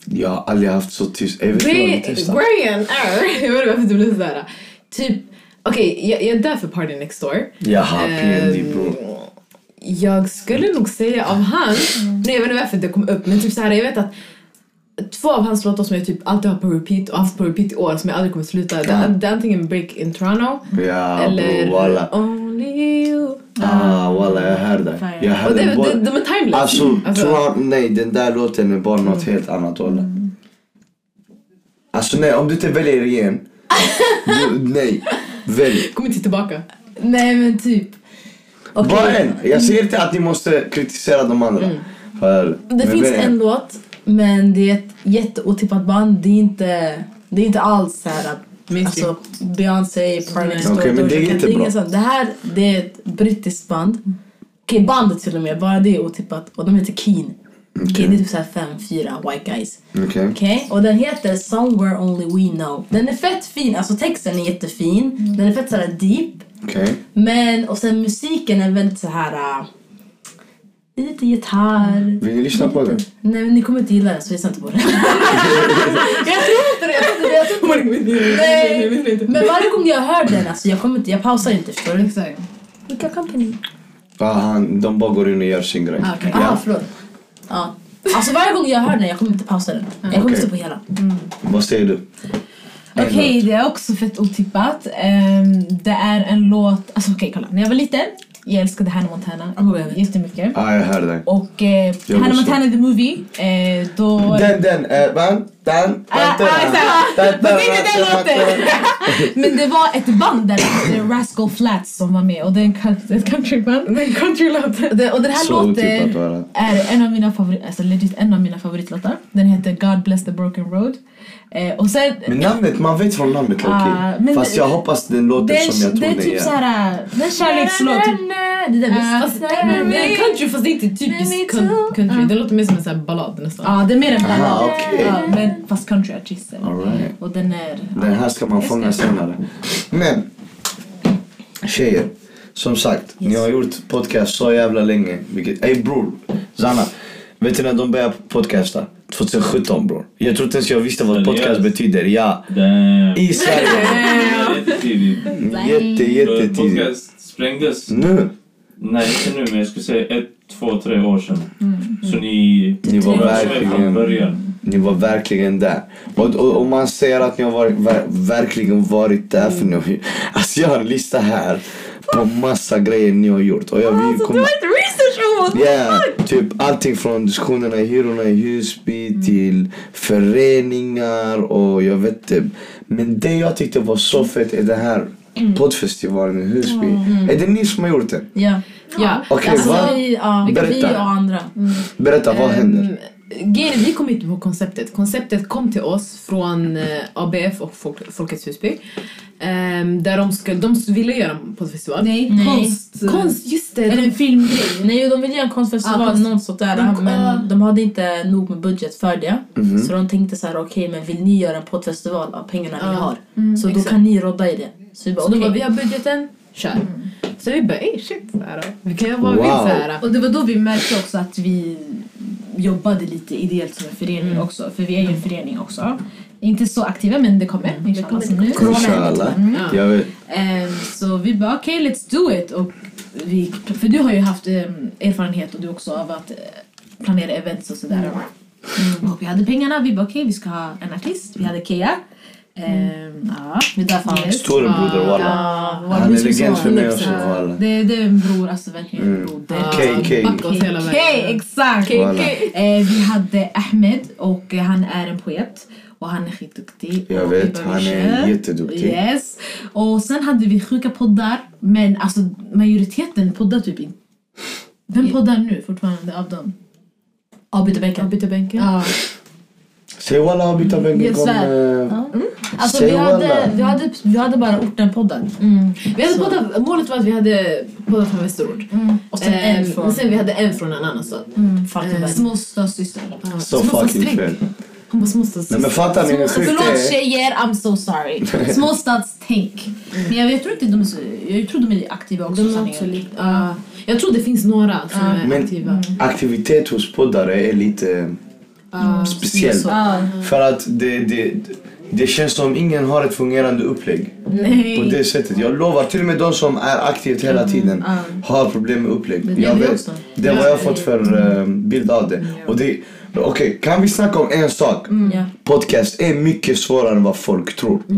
A: Jag har aldrig haft så tyst. Jag vet inte vad
B: Brian
A: ni testar.
B: är... Jag vet inte varför du blev såhär. Typ, okej, jag, jag är där för Party Next Door.
A: Jaha, PND bror.
B: Jag skulle nog säga av han,
A: Mm.
B: nej jag vet inte varför det kom upp, men typ så här, jag vet att två av hans låtar som jag typ alltid har på repeat och haft på repeat i år som jag aldrig kommer sluta, det,
A: Ja.
B: är- det är antingen Break in Toronto
A: Ja,
B: eller
A: bror. Walla.
B: Only You.
A: Ah, walla, jag hör dig. Jag hör
B: Och det,
A: dig.
B: det,
A: Både-
B: de är timeless.
A: Alltså, Tron, nej den där låten är bara något helt annat Olle. Alltså nej, om du inte väljer igen. du, nej, välj.
B: Kommer inte tillbaka.
C: Nej men typ. Okej.
A: Bara en. Jag säger inte att ni måste kritisera de andra. För,
C: Det finns en låt, men det är ett jätteotippat band. Det är inte, det är inte alls så här, alltså, Beyoncé, Party Next Door,
A: Okej, men det är
C: Doja Cat.
A: inte
C: ingen
A: bra.
C: sån. Det här det är ett brittiskt band. Okej, bandet till och med. Bara det är otippat. Och de heter Keen. Okej, det är typ såhär fem, fyra white guys.
A: Okej.
C: Okej, och den heter Somewhere Only We Know. Den är fett fin, alltså texten är jättefin. Den är fett såhär deep.
A: Okej.
C: Men, och sen musiken är väldigt så här. äh, lite gitarr.
A: Vill ni lyssna på den?
C: Nej men ni kommer inte gilla den så lyssna inte på den. jag tror inte det. Jag tror inte det. Jag tror inte det. Nej. Men varje gång jag hör den, alltså jag kommer inte, jag pausar inte förstår du.
E: Exakt.
C: Vilka company?
A: Ja, han, de bara går in och gör sin grej.
B: Ah, okej.
C: Ja.
A: Ja,
C: förlåt. Ja. Alltså varje gång jag hör den, jag kommer inte pausa den. Jag kommer
A: Okej.
C: stå på hela.
A: vad säger du?
E: Okej, det är också fett otippat. Ehm, det är en låt... Alltså okej, kolla. När jag var liten, jag älskade Hannah Montana
C: Oh, jag vet.
E: jättemycket.
A: Ja, ah, jag hörde den.
E: Och eh,
A: Jag
E: Hannah
A: också.
E: Montana the Movie, eh, då...
A: Den, den, eh, van, dan,
E: Ah,
A: dan,
E: ah, exakt.
A: dan, dan,
E: Men det är inte den
A: dan, dan,
E: låten.
A: dan.
E: Men det var ett band där, det hette Rascal Flats som var med och det är en coun- ett countryband. Och det- Och den här
A: Så typ otippat
E: låten
A: var det.
E: är en av mina favorit, alltså legit en av mina favoritlåtar. Den heter God Bless the Broken Road. Eh, och sen...
A: Men namnet, man vet från namnet Loki.
E: Ah, men
A: Fast jag hoppas den låter
E: Det
A: som jag
E: är,
A: tror
E: det är
A: den
E: typ
A: är.
E: såhär, det är en kärlekslåt. typ.
C: Det där
E: Ah,
C: visst.
B: Men det är country fast det är inte
E: Nej,
B: typiskt
E: me too.
B: coun- country. Det låter mer som en sån här ballad nästan.
E: Ja, det är mer en
A: Aha,
E: ballad.
A: okej.
E: Ja, men fast countryartister.
A: All right.
E: Och den är...
A: Den här ska man fånga senare. Men, tjejer. Som sagt, ni har gjort podcast så jävla länge. Vilket, ey bror, Zanna. Vet du när de började podcasta? 2017 bror. Jag tror inte ens jag visste vad
F: Seriöst?
A: podcast betyder. Ja,
F: Damn.
A: i Sverige.
F: Jättetidigt.
A: Jätte, jättetidigt.
F: Podcast sprängdes,
A: Nu,
F: nej inte nu men jag skulle säga ett, två, tre år sedan. Så ni...
A: Ni var
F: Jag var med
A: verkligen-
F: från början.
A: ni var verkligen där. Och, och, och man säger att ni har varit, ver, verkligen varit där för nu. Alltså jag har en lista här på massa grejer ni har gjort. Och jag, vi
C: Alltså,
A: kommer- Ja, typ allting från diskussionerna i hyrorna i Husby till föreningar och jag vet inte. Men det jag tyckte var så fett är det här
C: Mm.
A: poddfestivalen i Husby. Är det ni som har gjort det?
C: Ja.
B: Ja.
A: Okej,
C: mm. Alltså
A: vad?
C: vi, Ehm, ja, vi
A: Berätta.
C: och andra.
A: Berätta, vad händer?
B: Grejen är, Ehm, vi kom inte på konceptet. Konceptet kom till oss från eh, ABF och Folk, Folkets Husby. Ehm, där de, skulle, de ville göra en poddfestival.
E: Nej,
C: Nej.
E: konst.
B: Konst, just det.
C: Eller
B: De,
C: en filmgrej. Nej, de ville göra en konstfestival,
B: Ja, konst-
C: något sånt där.
B: De-
C: men de hade inte nog med budget för det. Så de tänkte så här, okej, men vill ni göra en poddfestival av pengarna ni
B: Ja. Mm,
C: har? så
B: exakt.
C: då kan ni rodda i det. Så vi bara,
B: så de
C: okej.
B: bara, vi har budgeten, kör. Så vi bara, ey shit. Så här, då. vi kan göra vad vi
A: Wow.
B: vill. Så här.
E: Och det var då vi märkte också att vi jobbade lite ideellt som en förening också. För vi är ju en förening också. Inte så aktiva men Mm, det kommer. inshallah,
B: kommer,
E: som
B: det
E: nu. Mm.
A: Inshallah. Jag vet.
E: Ehm, så vi bara okej, let's do it. Och vi, för du har ju haft ehm, erfarenhet och du också av att eh, planera events och sådär. Mm. Och vi hade pengarna, vi bara okej vi ska ha en artist. Vi hade Kea. Ehm, ja, vi där fanns. Yes.
A: Storebroder walla.
E: Ja, vår
A: Han är
E: husband.
A: legend för mig också
E: Exakt.
A: walla.
E: Det, det är en bror, alltså verkligen en
A: Mm.
E: broder.
B: Ja,
A: KK.
B: backa oss hela vägen.
E: Okej, exakt!
A: Walla.
E: Eh, vi hade Ahmed och eh, han är en poet och han är skitduktig.
A: Jag
E: Och
A: vet,
E: vi
A: han är
E: kör.
A: jätteduktig.
E: Yes. Och sen hade vi sjuka poddar, men alltså majoriteten poddar typ inte. Vem poddar nu fortfarande av dem?
C: Avbytarbänken.
B: Avbytarbänken.
E: Ja.
A: Säg walla Abitabengen
E: Jag
A: kom.
E: svär.
A: eh,
C: Alltså,
A: Säg
C: vi hade,
A: walla.
C: vi, hade, vi hade bara orten-podden.
B: Mm, Vi hade poddat, målet var att vi hade poddat från Västerort.
C: Och sen en
B: Ehm,
C: från
B: men sen vi hade en från en annan stad. Eh,
C: Falkenberg.
E: Småstadssyster.
B: Ja,
A: Så
B: som var
A: fucking
B: sträng.
A: fel.
B: Hon var småstadssyster.
A: Nej men fattar ni hur sjukt
E: Förlåt
A: det är?
E: tjejer, I'm so sorry. Småstadstänk. Men jag, jag tror inte de är så, jag tror de är aktiva också.
B: De är
E: sanningen.
B: också lite, ja. jag tror det finns några som är
A: Men-
B: aktiva.
A: Aktivitet hos poddare är lite
B: Ja.
A: speciellt. För att det, det, det känns som ingen har ett fungerande upplägg. På det sättet. Jag lovar, till och med de som är aktivt hela tiden har problem med upplägg. jag
E: vi
A: vet.
E: också.
A: Det är vad jag fått för eh, bild av det. Och det Okej, kan vi snacka om en sak?
C: ja.
A: Podcast är mycket svårare än vad folk tror.
B: Ja,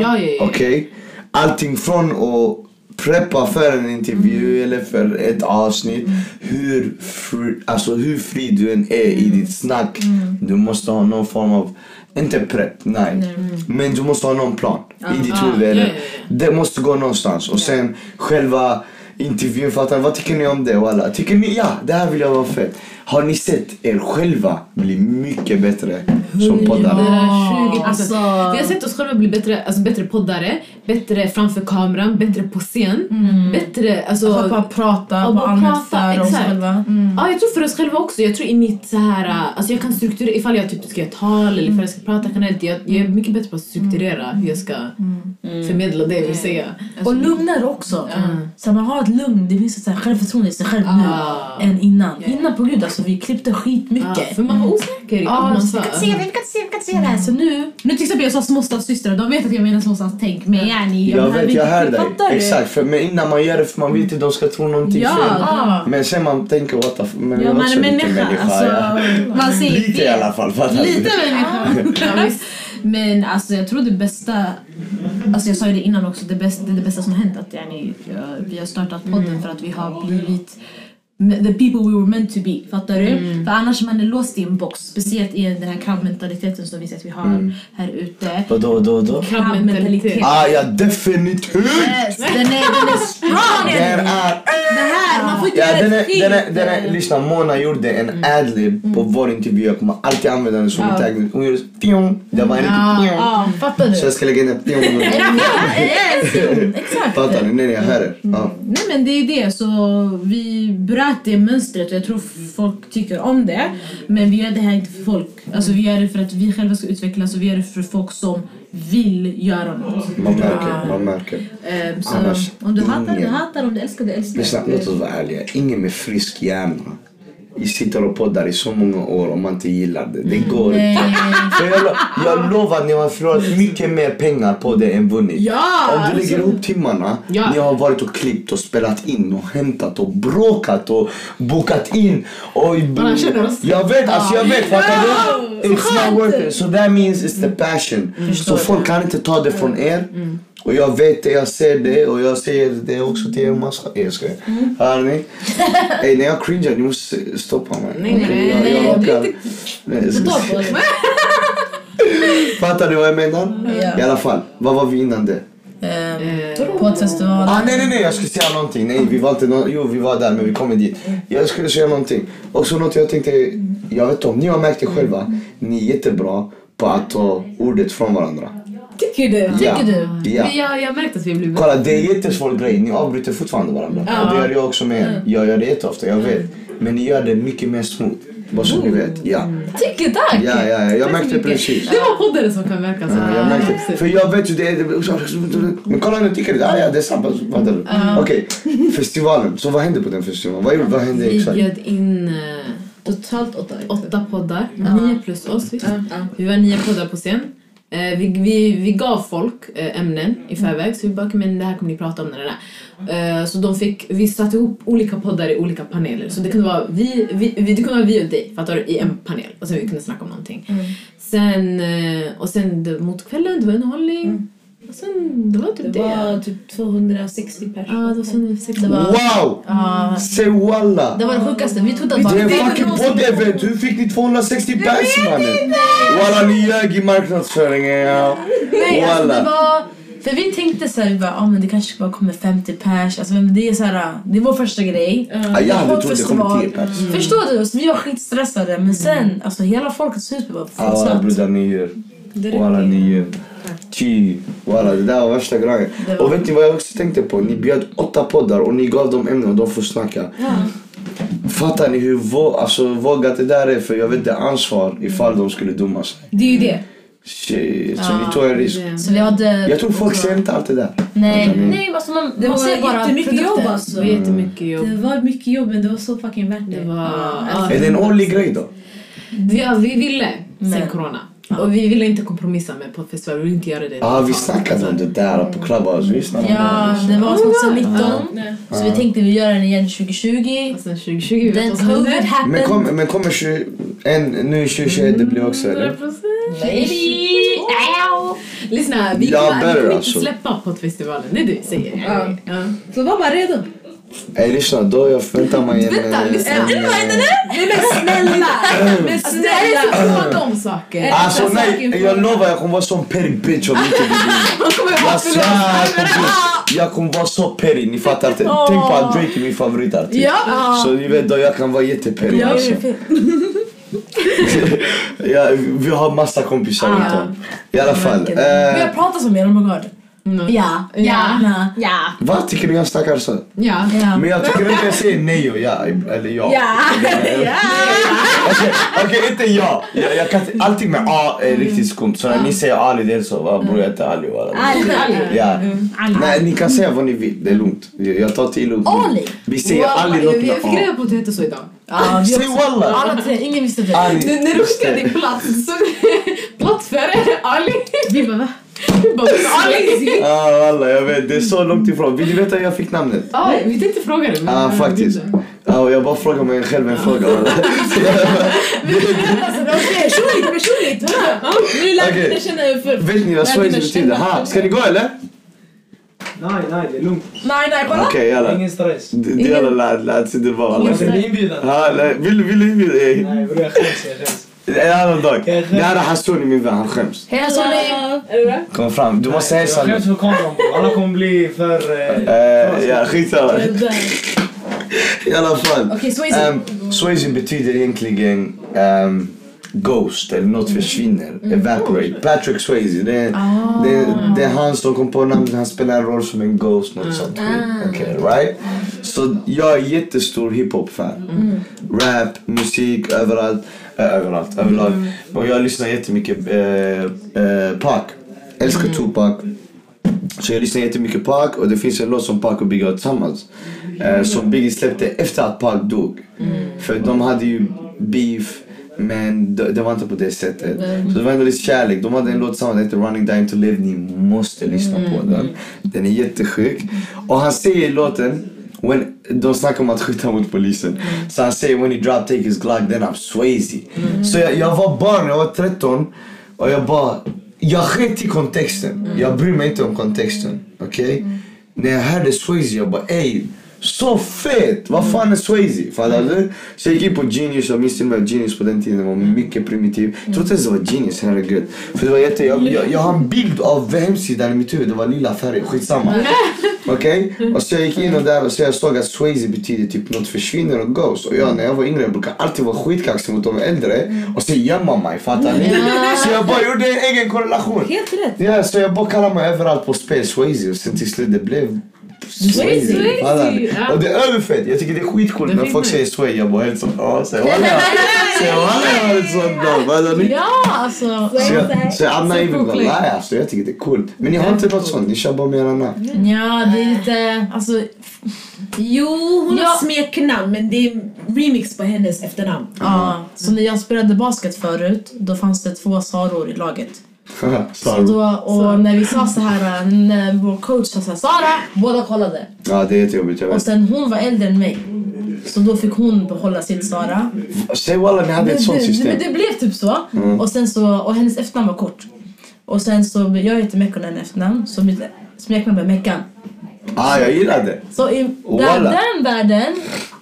B: ja, ja, ja.
A: Okej? Allting från att preppa för en
B: Mm.
A: intervju eller för ett avsnitt. Hur, fri, alltså hur fri du än är i
B: Mm.
A: ditt snack. Du måste ha någon form av, inte prepp, nej. Men du måste ha någon plan i ditt
B: Ah,
A: huvud.
B: ja,
A: eller,
B: ja, ja.
A: Det måste gå någonstans. Och sen själva intervjun, fattar ni? Vad tycker ni om det? Och alla, tycker ni ja, det här vill jag vara fett. Har ni sett er själva bli mycket bättre som poddare?
B: Det där 20%.
C: Alltså.
B: Vi har sett oss själva bli bättre, alltså bättre poddare, bättre framför kameran, bättre på scen.
C: Mm.
B: Bättre, alltså...
C: Att bara prata
B: Ja,
C: och
B: bara
C: bara allmänt
B: prata,
C: för oss
B: exakt. Mm.
C: själva.
B: Ja, jag tror för oss själva också. Jag tror i mitt så här, äh, alltså jag kan strukturera, ifall jag typ ska göra tal eller
C: Mm. Mm.
B: ifall jag ska prata generellt. Jag, jag är mycket bättre på att strukturera hur jag ska förmedla det jag vill säga.
C: Och lugnare också. Mm. Så man har ett lugn, det finns ett så här självförtroende i sig själv
B: Ah.
C: nu än innan.
B: Ja, ja.
C: Innan på gud alltså, vi klippte
B: Ja,
C: skitmycket.
B: för man var osäker i
C: Ja,
B: vad man
C: så
B: sa.
C: vi kan se det, vi kan se det, vi kan se det. här. Så nu,
E: Nu till exempel jag sa småstads systrar, de vet att jag menar småstads tänk. Men yani,
A: Jag vet, jag hör dig.
E: Fattar du?
A: Exakt, för men innan man gör det för man vet att de ska tro någonting
D: Ja.
A: fel.
C: ah,
A: Men sen man tänker what the f- men
D: Ja,
A: jag är
D: man
A: också
D: är
A: lite
D: människa.
A: människa.
D: alltså,
A: ja.
E: Man säger
A: Lite i
E: det.
A: alla fall, fattar du?
E: Lite människa. Ja, visst. men alltså jag tror det bästa, alltså jag sa ju det innan också, det bästa, det, är det bästa som har hänt att yani, jag- vi har startat podden för att vi har blivit the people we were meant to be, fattar du? För annars man är låst i en box, speciellt i den här kravmentaliteten som vi ser att vi har här ute.
A: Vadå, då, då?
B: Krabbmentalitet.
A: Ah, ja, definitivt!
E: Yes, den är, den är strong!
A: Den är... Ja, den är, den är, den är, lyssna, Mona gjorde en adlib på vår intervju. Jag kommer alltid använda den som en tagg. Hon gjorde så, pjong. Det var en riktig pjong.
C: ah, fattar du?
A: Så jag ska lägga in den pjong.
C: Exakt.
A: Fattar ni? Nej, nej, jag hör er. Ja.
E: Nej men det är ju det, så vi bröt det mönstret och jag tror folk tycker om det. Men vi gör det här inte för folk. Alltså vi gör det för att vi själva ska utvecklas och vi gör det för folk som vill göra något.
A: Man märker, man märker.
E: Ehm, så
A: Annars
E: om du hatar, du
A: ingen.
E: hatar. Om du älskar, du
A: Lyssna,
E: älskar.
A: låt oss vara ärliga. Ingen med frisk hjärna i- sitter och poddar i så många år om man inte gillar det. Det går inte. För Jag, lo- jag lovar att ni har förlorat mycket mer pengar på det än vunnit. Om du lägger ihop timmarna,
B: Ja.
A: ni har varit och klippt och spelat in och hämtat och bråkat och bokat in. Och,
B: Man känner oss.
A: jag vet, alltså jag vet. Fattar du? It's not worth it. So that means it's the passion.
B: Mm.
A: Så folk kan inte ta det från er. Och jag vet det, jag ser det och jag säger det också till er massa. Nej, Jag skojar.
B: Mm.
A: Hör ni? Ey, när jag cringear, ni måste stoppa mig.
B: Nej, nej,
A: Okej, jag-
B: nej,
A: jag
B: nej,
A: orkar. Nej, jag skojar. Fattar du vad jag menar? I alla fall, vad var vi innan det?
C: Ehm,
A: Eh,
C: Båtfestivalen.
A: Ah, nej, nej, nej, jag skulle säga någonting. Nej, vi var inte nå- jo, vi var där, men vi kom inte dit. Jag skulle säga någonting. Också något jag tänkte, jag vet inte om ni har märkt det själva. Ni är jättebra på att ta ordet från varandra.
D: Tycker du?
A: Ja.
C: Tycker du?
A: Ja.
B: Men jag, jag märkte att vi blev
A: Kolla, det är en jättesvår grej. Ni avbryter fortfarande varandra. Och det gör jag också med er. Jag gör det jätteofta, jag vet. Men ni gör det mycket mer smooth. Bara så ni vet. Ja,
C: Tycker tack!
A: ja, ja, ja. jag märkte precis.
B: Det var poddare som kan märka så.
A: Ja, jag
C: Ah,
A: märkte. För jag vet ju det är... Men kolla nu, tycker du? Ah, ja, det är sant. Fattar du? Okej, festivalen. Så vad hände på den festivalen? Vad, gjorde- vad hände
B: Vi
A: exakt?
B: bjöd in eh,
D: Totalt åtta.
B: åtta poddar, nio plus oss. visst? Vi var nio poddar på scen. Eh, vi, vi, vi gav folk eh, ämnen i
D: Mm.
B: förväg, så vi bara "Okej, men det här kommer ni prata om. När det där. Eh, så de fick, vi satte ihop olika poddar i olika paneler. Så det kunde vara vi, vi, vi, det kunde vara vi och dig fattar du, i en panel. Och sen vi kunde snacka om någonting.
D: Mm.
B: Sen, eh, och sen det- mot kvällen, det var underhållning. Och sen, det var typ
D: Mm. Det
B: det.
D: var typ 260 personer.
B: Ja, det var sen sex det
A: Wow! Säg walla!
C: Ah. Det var det sjukaste. Vi trodde att
A: Det är en
C: Vi trodde
A: fucking
C: någon som-
A: podd-event! Hur fick ni 260 pers mannen? Walla ni ljög i marknadsföringen ja.
C: Nej, alltså det
A: Walla.
C: var... För vi tänkte så här, vi bara, ah, men det kanske bara kommer 50 pers. Alltså, men det är så här, det är vår första grej.
A: Ja, jag hade
C: Vår
A: trott det
C: festival. Mm.
A: kom 10 pers.
C: Förstår du? Så vi var skitstressade. Men sen, alltså hela folkets hus var
A: Alla
C: fullsatt.
A: brudar ni gör. Walla ni gör. Ty, walla det där var värsta grejen.
C: var-
A: Och vet ni vad jag också tänkte på? Ni bjöd åtta poddar och ni gav dem ämnen och de får snacka. Fattar ni hur vå- alltså, vågat det där är? För jag vet det är ansvar ifall de skulle dumma sig.
D: Det är ju det.
A: Shit, så ni tog en risk.
C: Så vi hade...
A: Jag tror folk ser inte allt det där.
C: Nej, nej alltså man,
D: Det
C: man ser
D: var
C: bara
D: jättemycket jobb
C: produkten.
D: alltså.
B: var jättemycket jobb.
D: Det var mycket jobb men det var så fucking värt
B: Det
D: det.
B: var... ja.
A: Är det en årlig grej då?
B: Vi, ja, vi ville sen
C: Men-
B: corona. Och vi ville inte kompromissa med poddfestival, vi ville inte göra det.
A: Ja, ah, vi snackade om det där på Clubhouse. Vi snackade om
C: Ja,
A: det.
C: det var 2019.
D: Nej.
C: Så vi tänkte vi gör den igen 2020.
B: Och sen alltså, 2020 vi vet
C: Den
B: vad som hände.
C: covid
A: Men,
C: happened.
A: kom, men kommer 20, en, nu 2021, det blir också
C: Mm.
A: eller?
C: Baby! Ow!
B: Lyssna, vi
A: Ja,
B: kommer vi
A: better
B: kommer inte
A: alltså.
B: släppa poddfestivalen, det är det vi säger. Ja. Ja.
D: Så var bara redo.
A: Ey lyssna, då jag förväntar mig en...
B: Vänta,
A: en-
B: lyssna.
A: en-
D: Nej men snälla! Alltså, Men
B: Det är
D: snälla!
B: så bra om saker.
A: Alltså
D: Nästa sak
A: nej,
D: är
A: jag lovar jag kommer vara sån perry bitch om inte vi vinner. Jag svär, jag kommer bli- jag kommer vara så perry, ni fattar inte. Tänk på att Drake är min favoritartist. Så ni vet då, jag kan vara jätteperry alltså. ja, vi har massa kompisar runt om. I alla fall. eh,
C: Vi har pratat om er, oh my god.
A: Mm.
C: Ja.
B: Ja.
C: Ja.
D: Ja.
A: Va? Tycker ni jag snackar så?
B: Ja.
C: Ja.
A: Men jag tycker inte jag säger nej och ja. Eller ja. Okej, inte ja. Jag, jag kan, allting med A är riktigt skumt. Så när ni säger Ali, det är så. Va, bror, jag heter Ali. walla.
C: Ah,
D: Ali. Ali.
A: Ja.
C: mm.
A: Nej, ni kan säga vad ni vill. Det är lugnt. Jag tar till lugnt.
C: Ali.
A: Vi säger Ali något
B: Jag
A: med
B: fick
A: A.
B: reda på att du hette så idag.
C: Ja, vi
A: Säg
C: också-
A: walla!
C: Alla tre, ingen visste det.
A: Ali.
B: När du skickade din plats så plats före Ali.
D: Vi bara va?
B: Du bara Ali.
A: Ja, walla, jag vet. Det är så långt ifrån. Vill ni veta hur jag fick namnet?
B: Ja, vi tänkte fråga dig. men-
A: Ja, faktiskt. Ja, och jag bara frågar mig själv en fråga. walla.
D: Personligt, personligt! Ja, Nu lär
A: Okej.
D: jag känna hur för...
A: Vet ni vad Sveriges betyder? Ha, ska ni gå eller?
G: Nej, nej, det är lugnt.
C: Nej, nej, kolla.
A: Okej, jalla.
G: Ingen stress.
A: Det det jävla lät, lät sig det vara. alla.
G: Jag blev inbjuden.
A: Ja, nej, Vill vill du inbjuda? eh,
G: Nej bror jag skäms, jag skäms.
A: En annan dag. Det här är Hassouni, min vän. Han skäms.
B: Hej Sonny.
A: Kom fram. Du måste hälsa
G: Jag
A: nu.
G: skäms för kameran bror. Alla kommer bli för... eh,
A: Eh, Ja, skitsamma.
D: Där.
A: I alla fall.
D: Okej, så är
A: Um, Swayze betyder egentligen ehm, ghost, eller något försvinner, evaporate. Patrick Swayze, det är, det, är- det är han som kom på namnet, han spelar en roll som en ghost, något sånt skit. Okej, right? Så jag är jättestor hiphop-fan. Rap, musik, överallt. eh, överallt, överlag. Och jag lyssnar jättemycket eh, eh, Pac. Älskar Tupac. Så jag lyssnar jättemycket på Pac och det finns en låt som Pac och Biggie har tillsammans. Eh, som Biggie släppte efter att Pac dog. För de hade ju beef men det, det var inte på det sättet. Så det var ändå lite kärlek. De hade en låt tillsammans, den heter Running Down to Live. Ni måste lyssna på den. Den är jättesjuk. Och han säger i låten When, de snackar om att skjuta mot polisen. Så han säger when he drop take his Glock then I'm Swayze. Så jag, jag var barn, jag var 13 och jag bara, jag sket i kontexten. Jag bryr mig inte om kontexten. Okej? När jag hörde Swayze jag bara ey, så fett! Vad fan är Swayze? Fattar du? Så jag gick in på Genius, jag minns till och med att Genius på den tiden var mycket primitiv. Jag tror inte ens det var Genius, herregud. För det var jätte, jag, jag, jag har en bild av hemsidan i mitt huvud, det var lila färger, skitsamma. Okej? Och så jag gick in och där och så jag såg att Swayze betyder typ något försvinner och ghost. Och jag när jag var yngre jag brukade alltid vara skitkaxig mot de äldre och så gömma mig, fattar ni? Så jag bara gjorde en egen korrelation.
D: Helt rätt.
A: Ja, så jag bara kallade mig överallt på spel Swayze och sen till slut det blev Swayze.
D: Swayze,
A: fattar ni?
D: ja.
A: Och det är överfett. Jag tycker det är skitcoolt när folk säger Sway. Jag bara helt sån, ja, säg walla. Säg walla, jag har ett sånt namn. Fattar ni?
C: Ja, alltså.
A: Så jag- Så I'm not even gonna lie alltså. Jag tycker det är coolt. Men ni har inte något sånt, ni kör bara med era namn.
C: Ja, det är lite... Alltså,
D: Jo, hon
C: Ja.
D: har smeknamn men det är remix på hennes efternamn.
C: ja. Så när jag spelade basket förut, då fanns det två Saror i laget. Så
A: Sorry.
C: då, och när vi sa så här, när vår coach sa så här, Sara, båda kollade.
A: Ja, det är jättejobbigt. Jag
C: Och
A: vet.
C: sen hon var äldre än mig. Så då fick hon behålla sitt Sara.
A: Säg walla, ni hade ett sånt
C: det,
A: system.
C: det blev typ så. Och, sen så. och hennes efternamn var kort. Och sen så, jag heter Mekkonen i efternamn, så mitt smeknamn blev Meckan.
A: Ah, jag gillar det.
C: Så i där,
A: Oh, Walla. Mm.
C: den världen,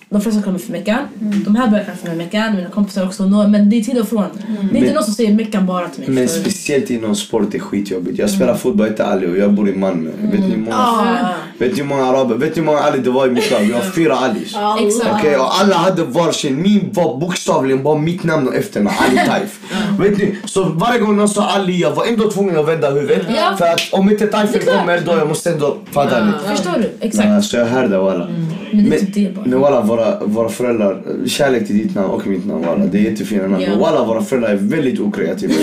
C: de flesta kallar mig för Meckan. De här börjar kalla för mig Meckan, mina kompisar också. nå- Men det är till och från. Det är inte
A: Men-
C: någon som säger Meckan bara till mig.
A: Mm. Men
C: förstår du?
A: speciellt inom sport är skitjobbigt. Jag
C: Mm.
A: spelar fotboll, inte Ali och jag bor i Malmö. Vet ni hur många,
C: Ja.
A: vet ni hur många araber, vet ni hur många Ali det var i mitt lag? Vi har fyra Alis.
C: Exakt.
A: Okej, och alla hade varsin. Min var bokstavligen bara mitt namn och efternamn, Ali Taif. Vet ni, så varje gång någon sa Ali, jag var ändå tvungen att vända huvudet.
C: Ja.
A: För att om inte Taifen
C: klart.
A: kommer då, jag måste ändå, fattar ni?
C: Förstår du? Exakt.
A: Ja, så jag hörde walla.
C: Men det är
A: Men,
C: typ det bara.
A: men walla, våra, våra föräldrar, kärlek till ditt namn och mitt namn walla, det är jättefina namn. Men walla, våra föräldrar är väldigt okreativa.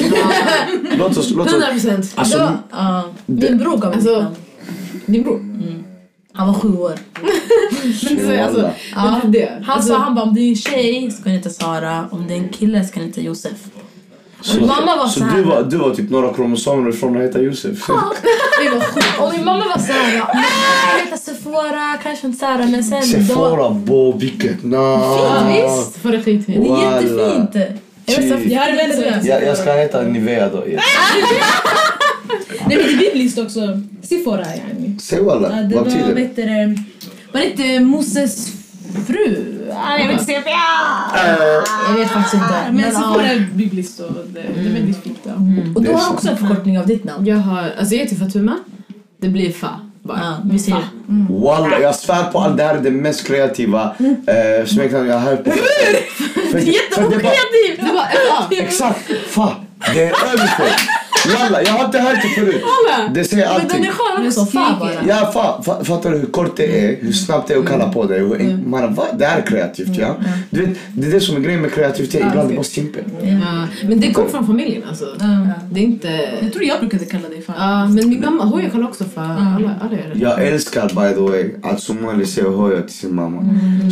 A: låt oss, låt oss.
B: 100 procent.
A: Alltså,
C: Då, ja. min bror gav mig
B: alltså-
C: namn.
B: Din bror.
C: Han var sju år.
B: Men så, alltså,
A: Walla.
C: Ja.
B: men det.
C: Han sa han bara om det är en tjej så kan det inte Sara, om det är en kille så kan det inte Josef.
A: Så,
C: mamma var
A: så
C: så här.
A: du, var, du var typ några kromosomer ifrån att heta Josef.
C: Och min mamma var såhär, ja, jag heter Sephora, kanske inte Sara men sen...
A: Sephora, bo, vilket namn!
C: Fint, visst?
B: För det skit i.
C: Det
A: Walla.
C: är jättefint. Jag vet
A: Shit.
C: inte, jag hade väl det.
A: Jag, jag ska heta Nivea då. ja.
D: Nej men det är bibliskt också. Sifora yani.
A: Säg walla,
D: Ja, det
A: vad
D: var,
A: betyder
D: vad
A: det?
D: heter det? Var det inte Moses fru? Ah, jag vet inte säga ja!
A: Eh,
C: Jag vet faktiskt inte.
D: Ah, Men
C: Men,
D: Sifora
C: ja.
D: är bibliskt och det, det är väldigt fint. Ja.
C: Och
A: Det är
C: du har
A: sant.
C: också en förkortning av ditt namn.
B: Jag har, alltså jag heter Fatuma. Det blir Fa. Bara.
C: Ja, vi ser.
A: Walla, jag svär på allt, det här är det mest kreativa eh, smeknamn jag har hört på. För- för det är bara-
B: Det var Fa.
A: Exakt! Fan, det är överfullt. Walla, jag har inte hört det förut. Det säger
C: Men den
A: allting.
C: är skön också.
E: Jag
C: Fan
E: skriker.
C: bara.
A: Ja, fa, fa, fattar du hur kort det är? Hur snabbt det är att kalla på dig? Hur,
C: Mm.
A: en- man, va, det här är kreativt, ja. Du vet, det är det som är grejen med kreativitet. Ibland är det bara simpelt.
B: Ja, men det kom från familjen alltså. Det är inte...
E: Jag tror jag brukade kalla dig för.
B: Ja, men min mamma hon kallar också för alla, alla gör det.
A: Jag älskar by the way att somalier säger hoja till sin mamma.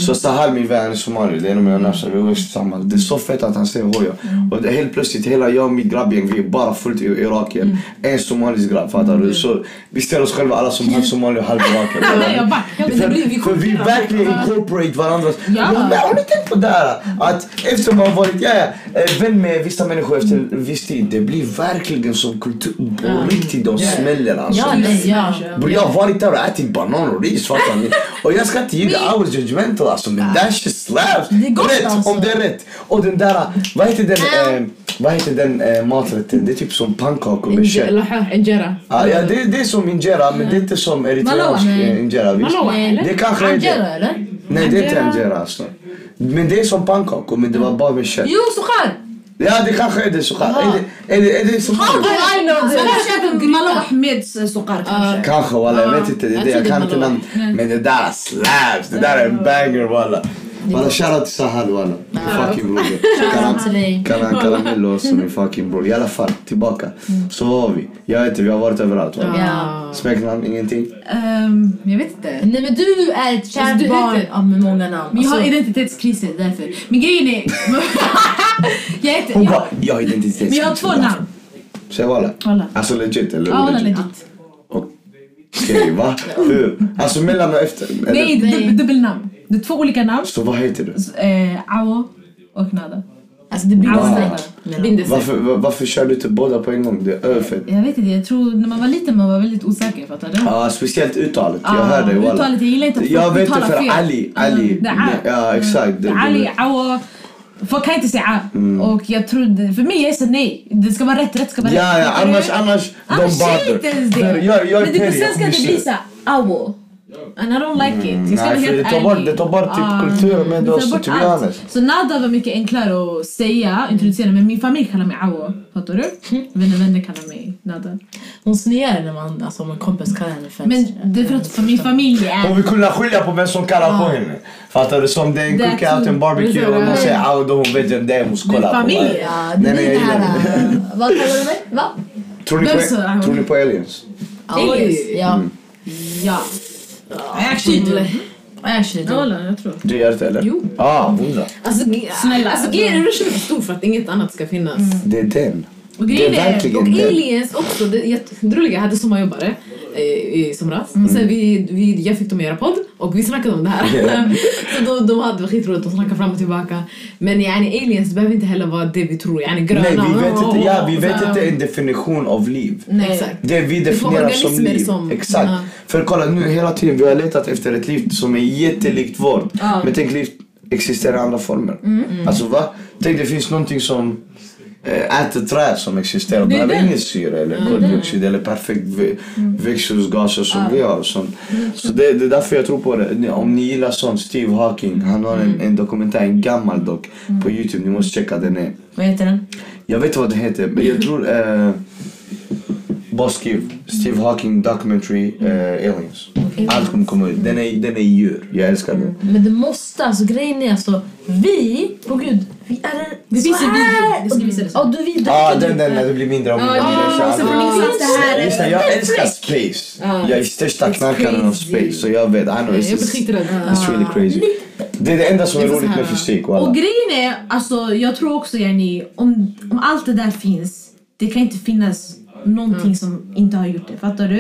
A: Så Sahar min vän är somalier, det är en av mina nafsar, vi har växt tillsammans. Det är så fett att han säger hoja. Och det, helt plötsligt, hela jag och mitt grabbgäng, vi är bara fullt i irakier. En somalisk grabb, fattar du? Så vi ser oss själva alla som halv somalier och halv irakier.
E: Nej, jag back. Jag
A: För, för vi verkligen incorporate varandras... Ja. Men har ni tänkt på det här? Att efter man har varit ja, ja, eh, vän med vissa människor efter en viss tid, det blir verkligen som kultur. På riktigt, de smäller alltså.
C: Ja, nej, ja.
A: Bror jag har varit där och ätit banan och ris fattar ni? Och jag ska inte ge det I was judgmental alltså men that shit slaps!
C: Det är gott,
A: rätt
C: alltså.
A: om det är rätt! Och den där, vad heter den, eh, vad heter den eh, maträtten? Det är typ som pannkakor med
B: Inje-
A: kött.
B: eller hä- injera.
A: Ah, ja, det, det är som injera men det är inte som eritreansk
C: Malou,
A: eh, injera visst?
B: Malou, eller?
A: Det kanske är
C: Angela
A: det.
C: eller?
A: Nej det är inte injera alltså. Men det är som pannkakor men det var bara med kött.
C: Jo, Sukhar!
A: Ja det kanske är det så. Är det, är det, är det som
C: I know Alltså,
D: Så
C: this!
D: här köper Malou Ahmeds eh, suqar kanske.
A: Kanske walla, jag vet inte. Det, är
B: jag
A: det, jag
B: trodde
A: kan
B: det
A: inte
B: var
A: namn. Men det där slaps! Det där är en banger walla. Walla shoutout till Sahad walla. Min fucking broder. Karan Karamello också min fucking bror. I alla fall, tillbaka.
E: Mm.
A: Så var vi. Jag vet inte, vi har varit överallt walla.
C: Ja.
A: Smeknamn, ingenting.
E: Ehm, jag vet inte.
C: Nej men du är ett
E: Alltså, du
C: kärt
E: heter-
C: barn ja, med många namn.
E: Men jag har
C: Alltså,
E: identitetskriser därför. Men grejen är... jag heter...
A: Hon
E: Jag,
A: bara, jag har identitet.
E: men jag har två namn.
A: Säg walla.
E: Walla.
A: Alltså legit eller
E: Ja, hon är
A: olegit?
E: legit.
A: Okej, va? Hur? Alltså mellan och efter? eller?
E: Nej, dub, dubbelnamn. Det är två olika namn.
A: Så vad heter du?
E: Eh, Awo och Nada.
C: alltså det blir
E: Ja.
C: wow.
B: Binder sig.
A: Varför, var- varför kör du inte båda på en gång? Det är överfett.
E: Jag vet inte, jag tror när man var liten man var väldigt osäker. Fattar du?
A: Ja, speciellt uttalet. Jag
E: Ah,
A: hör dig walla.
E: uttalet, jag gillar inte att folk
A: Jag vet inte
E: uttalar
A: för
E: fel.
A: Ali,
E: Mm,
A: Ali.
E: det är Ali.
A: ja exakt. Det- Mm. det-
E: Ali, Awo. Folk kan inte säga Och jag trodde, för mig jag sa nej. Det ska vara rätt, rätt ska vara
A: Ja,
E: rätt.
A: ja,
E: Fattar du?
A: annars, annars,
E: Annars
A: de bara...
E: är inte ens Ah, det.
A: För Jag, jag är
D: Men det, på
A: Terry,
D: svenska
A: jag
D: det blir såhär awo.
E: And I don't like it. Jag ska vara
A: Mm, Nej, för det
E: helt
A: tar bort,
E: ärlig.
A: det tar bort typ
E: Ah,
A: kulturen med
E: det tar
A: oss,
E: bort
A: to be
E: allt.
A: honest.
E: Så nada var mycket enklare att säga, introducera, men min familj kallar mig awo. Fattar du? Vänner, vänner kallar mig nada.
C: Hon snear när man, alltså, om en kompis kallar henne för
E: Men det är för att för min familj är...
A: Hon vill kunna skilja på vem som kallar på henne. Fattar du? Som det är en
E: Det är
A: cookout,
E: så-
A: en barbecue och någon säger ah, då hon vet vem det är hon ska
E: Men
A: kolla på.
E: familj,
A: Nej,
C: Ja, det
A: nej,
C: blir
A: jag
C: det
A: gillar det.
C: här... äh, Vad kallar du mig? Va?
A: Tror ni
E: Vem
A: på-
E: sa hon?
A: Tror ni på aliens?
C: Aliens. Ja. Ja.
E: Actually, du.
C: Actually,
D: Ja,
C: då.
D: walla, jag tror.
A: Du gör det eller? Jo. Ah, hundra.
B: Alltså, ge- alltså grejen är så stor för att inget annat ska finnas.
A: Det är den.
E: Och
A: Det är
E: grejen är...
B: Och
A: verkligen den.
B: aliens också, det är jätteroliga. Jag hade sommarjobbare eh, i somras.
A: Mm.
B: Och sen vi, vi, jag fick dem att göra podd och vi snackade om det här. så då, de hade det var skitroligt, de snackade fram och tillbaka. Men yani, aliens behöver inte heller vara det vi tror. Yani, gröna.
A: Nej, vi vet inte, ja, vi
B: och
A: vet
B: så-
A: inte en definition av liv.
B: Nej. Exakt.
A: Det vi
B: får
A: definierar som
B: organismer
A: liv.
B: som-
A: Exakt.
B: Ja.
A: För kolla nu hela tiden vi har letat efter ett liv som är jättelikt vårt. Men tänk liv existerar i andra former.
B: Mm,
A: Alltså va? Tänk det finns någonting som eh, äter träd som existerar. Det behöver ingen syre eller koldioxid eller perfekt vä-
B: Mm.
A: växthusgaser som vi har. och sånt. Så det, det är därför jag tror på det. Om ni gillar sånt, Steve Hawking, han har
B: Mm.
A: en, en dokumentär, en gammal dock, på Youtube. Ni måste checka den. Är.
C: Vad heter den?
A: Jag vet vad den heter, men jag tror... Eh, bara skriv Steve Hawking documentary eh, Aliens. Allt kommer komma ut. Den är, den är djur. Jag älskar
D: Mm.
A: den.
C: Men det måste, alltså grejen är alltså, vi, på gud, vi är en... Det
D: finns en video, jag ska visa dig sen.
C: Ja, du vi
A: Ah, den, den när det blir mindre och mindre.
D: Ja, så får ni
A: Ah,
D: visa det här.
A: Just det, jag älskar space. Jag är största knarkaren av space, så jag vet. I know,
B: Jag blir
A: it's, it's,
B: skiträdd.
A: it's really crazy. Det är det enda som är roligt med fysik.
E: Och
A: Walla.
E: grejen är, alltså jag tror också yani, om, om allt det där finns, det kan inte finnas någonting
A: Mm.
E: som inte har gjort det. Fattar du?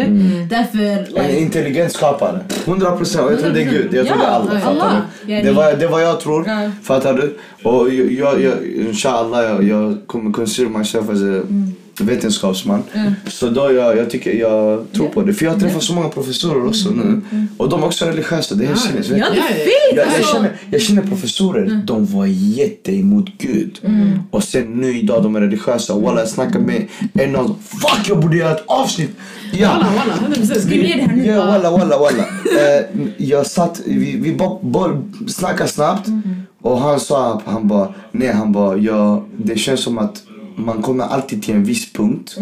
E: Därför...
A: En
E: Like,
A: intelligent skapare. 100 procent. Jag tror det är Gud. Jag tror det är Allah.
E: Ja,
A: Fattar
E: Allah.
A: du? Det var, det var jag tror. Fattar du? Och jag, jag, jag, inshallah, jag, jag kommer consider myself as a
E: Mm.
A: vetenskapsman. Så då jag, jag, tycker, jag tror på det. För jag träffar så många professorer också nu. Och de är också religiösa. Det är helt sinnesväckande.
E: Mm. ja, det
A: Jag,
E: är fint!
A: jag,
E: Alltså.
A: känner, jag känner professorer,
E: Mm.
A: de var jätte emot Gud. Och sen nu idag, de är religiösa. Walla, jag snackade med en av dem. Fuck, jag borde göra ett avsnitt! Ja.
B: Walla, walla, 100%. Skriv ner det här nu.
A: Ja, walla, walla, walla. Eh, jag satt, vi, vi bara, bara snackade snabbt och han sa, han bara, nej, han bara, ja, det känns som att man kommer alltid till en viss punkt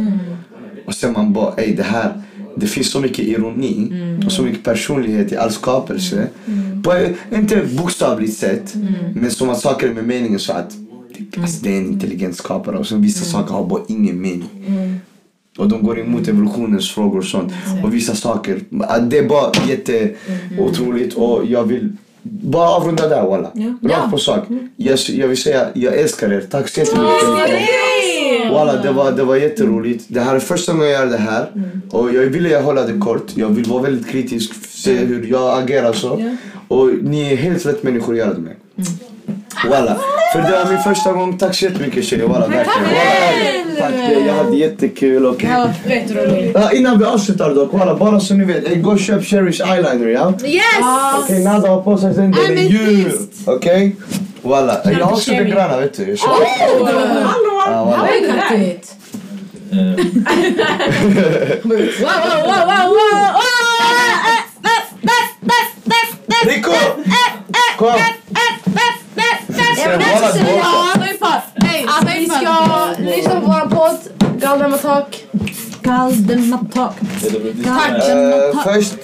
A: och sen man bara, ey det här, det finns så mycket ironi och så mycket personlighet i all skapelse. På, ett- inte bokstavligt sätt, men som att saker är med meningen så att alltså, det är en intelligent skapare och sen vissa saker har bara ingen mening. Och de går emot evolutionens frågor och sånt. Och vissa saker. att Det är bara jätteotroligt och jag vill bara avrunda där walla. Rakt på sak. Jag, jag vill säga, jag älskar er. Tack så jättemycket. Walla, det var, det var jätteroligt. Det här är första gången jag gör det här. Och jag ville hålla det kort. Jag vill vara väldigt kritisk, se hur jag agerar så. Och ni är helt rätt människor att göra det med. Walla. För det var min första gång. Tack så jättemycket tjejer. Walla, verkligen. Walla, Tack, det- jag hade jättekul. Och...
D: Fett roligt.
A: Ja, innan vi avslutar dock, walla, bara så ni vet. eh, Gå och köp Cherish eyeliner, ja?
D: Yes!
A: Okej, Nada har på sig den. Den är djur. Okej? Walla. eh, Jag har också den gröna, vet du. Jag köper. Ja, walla.
F: Eh,
A: Rico! Kom! Sen, walla, gå.
C: Alltså, vi ska lyssna på vår podd, Galden med tak.
E: Galden Talk.
F: det blir-
A: Eh, Först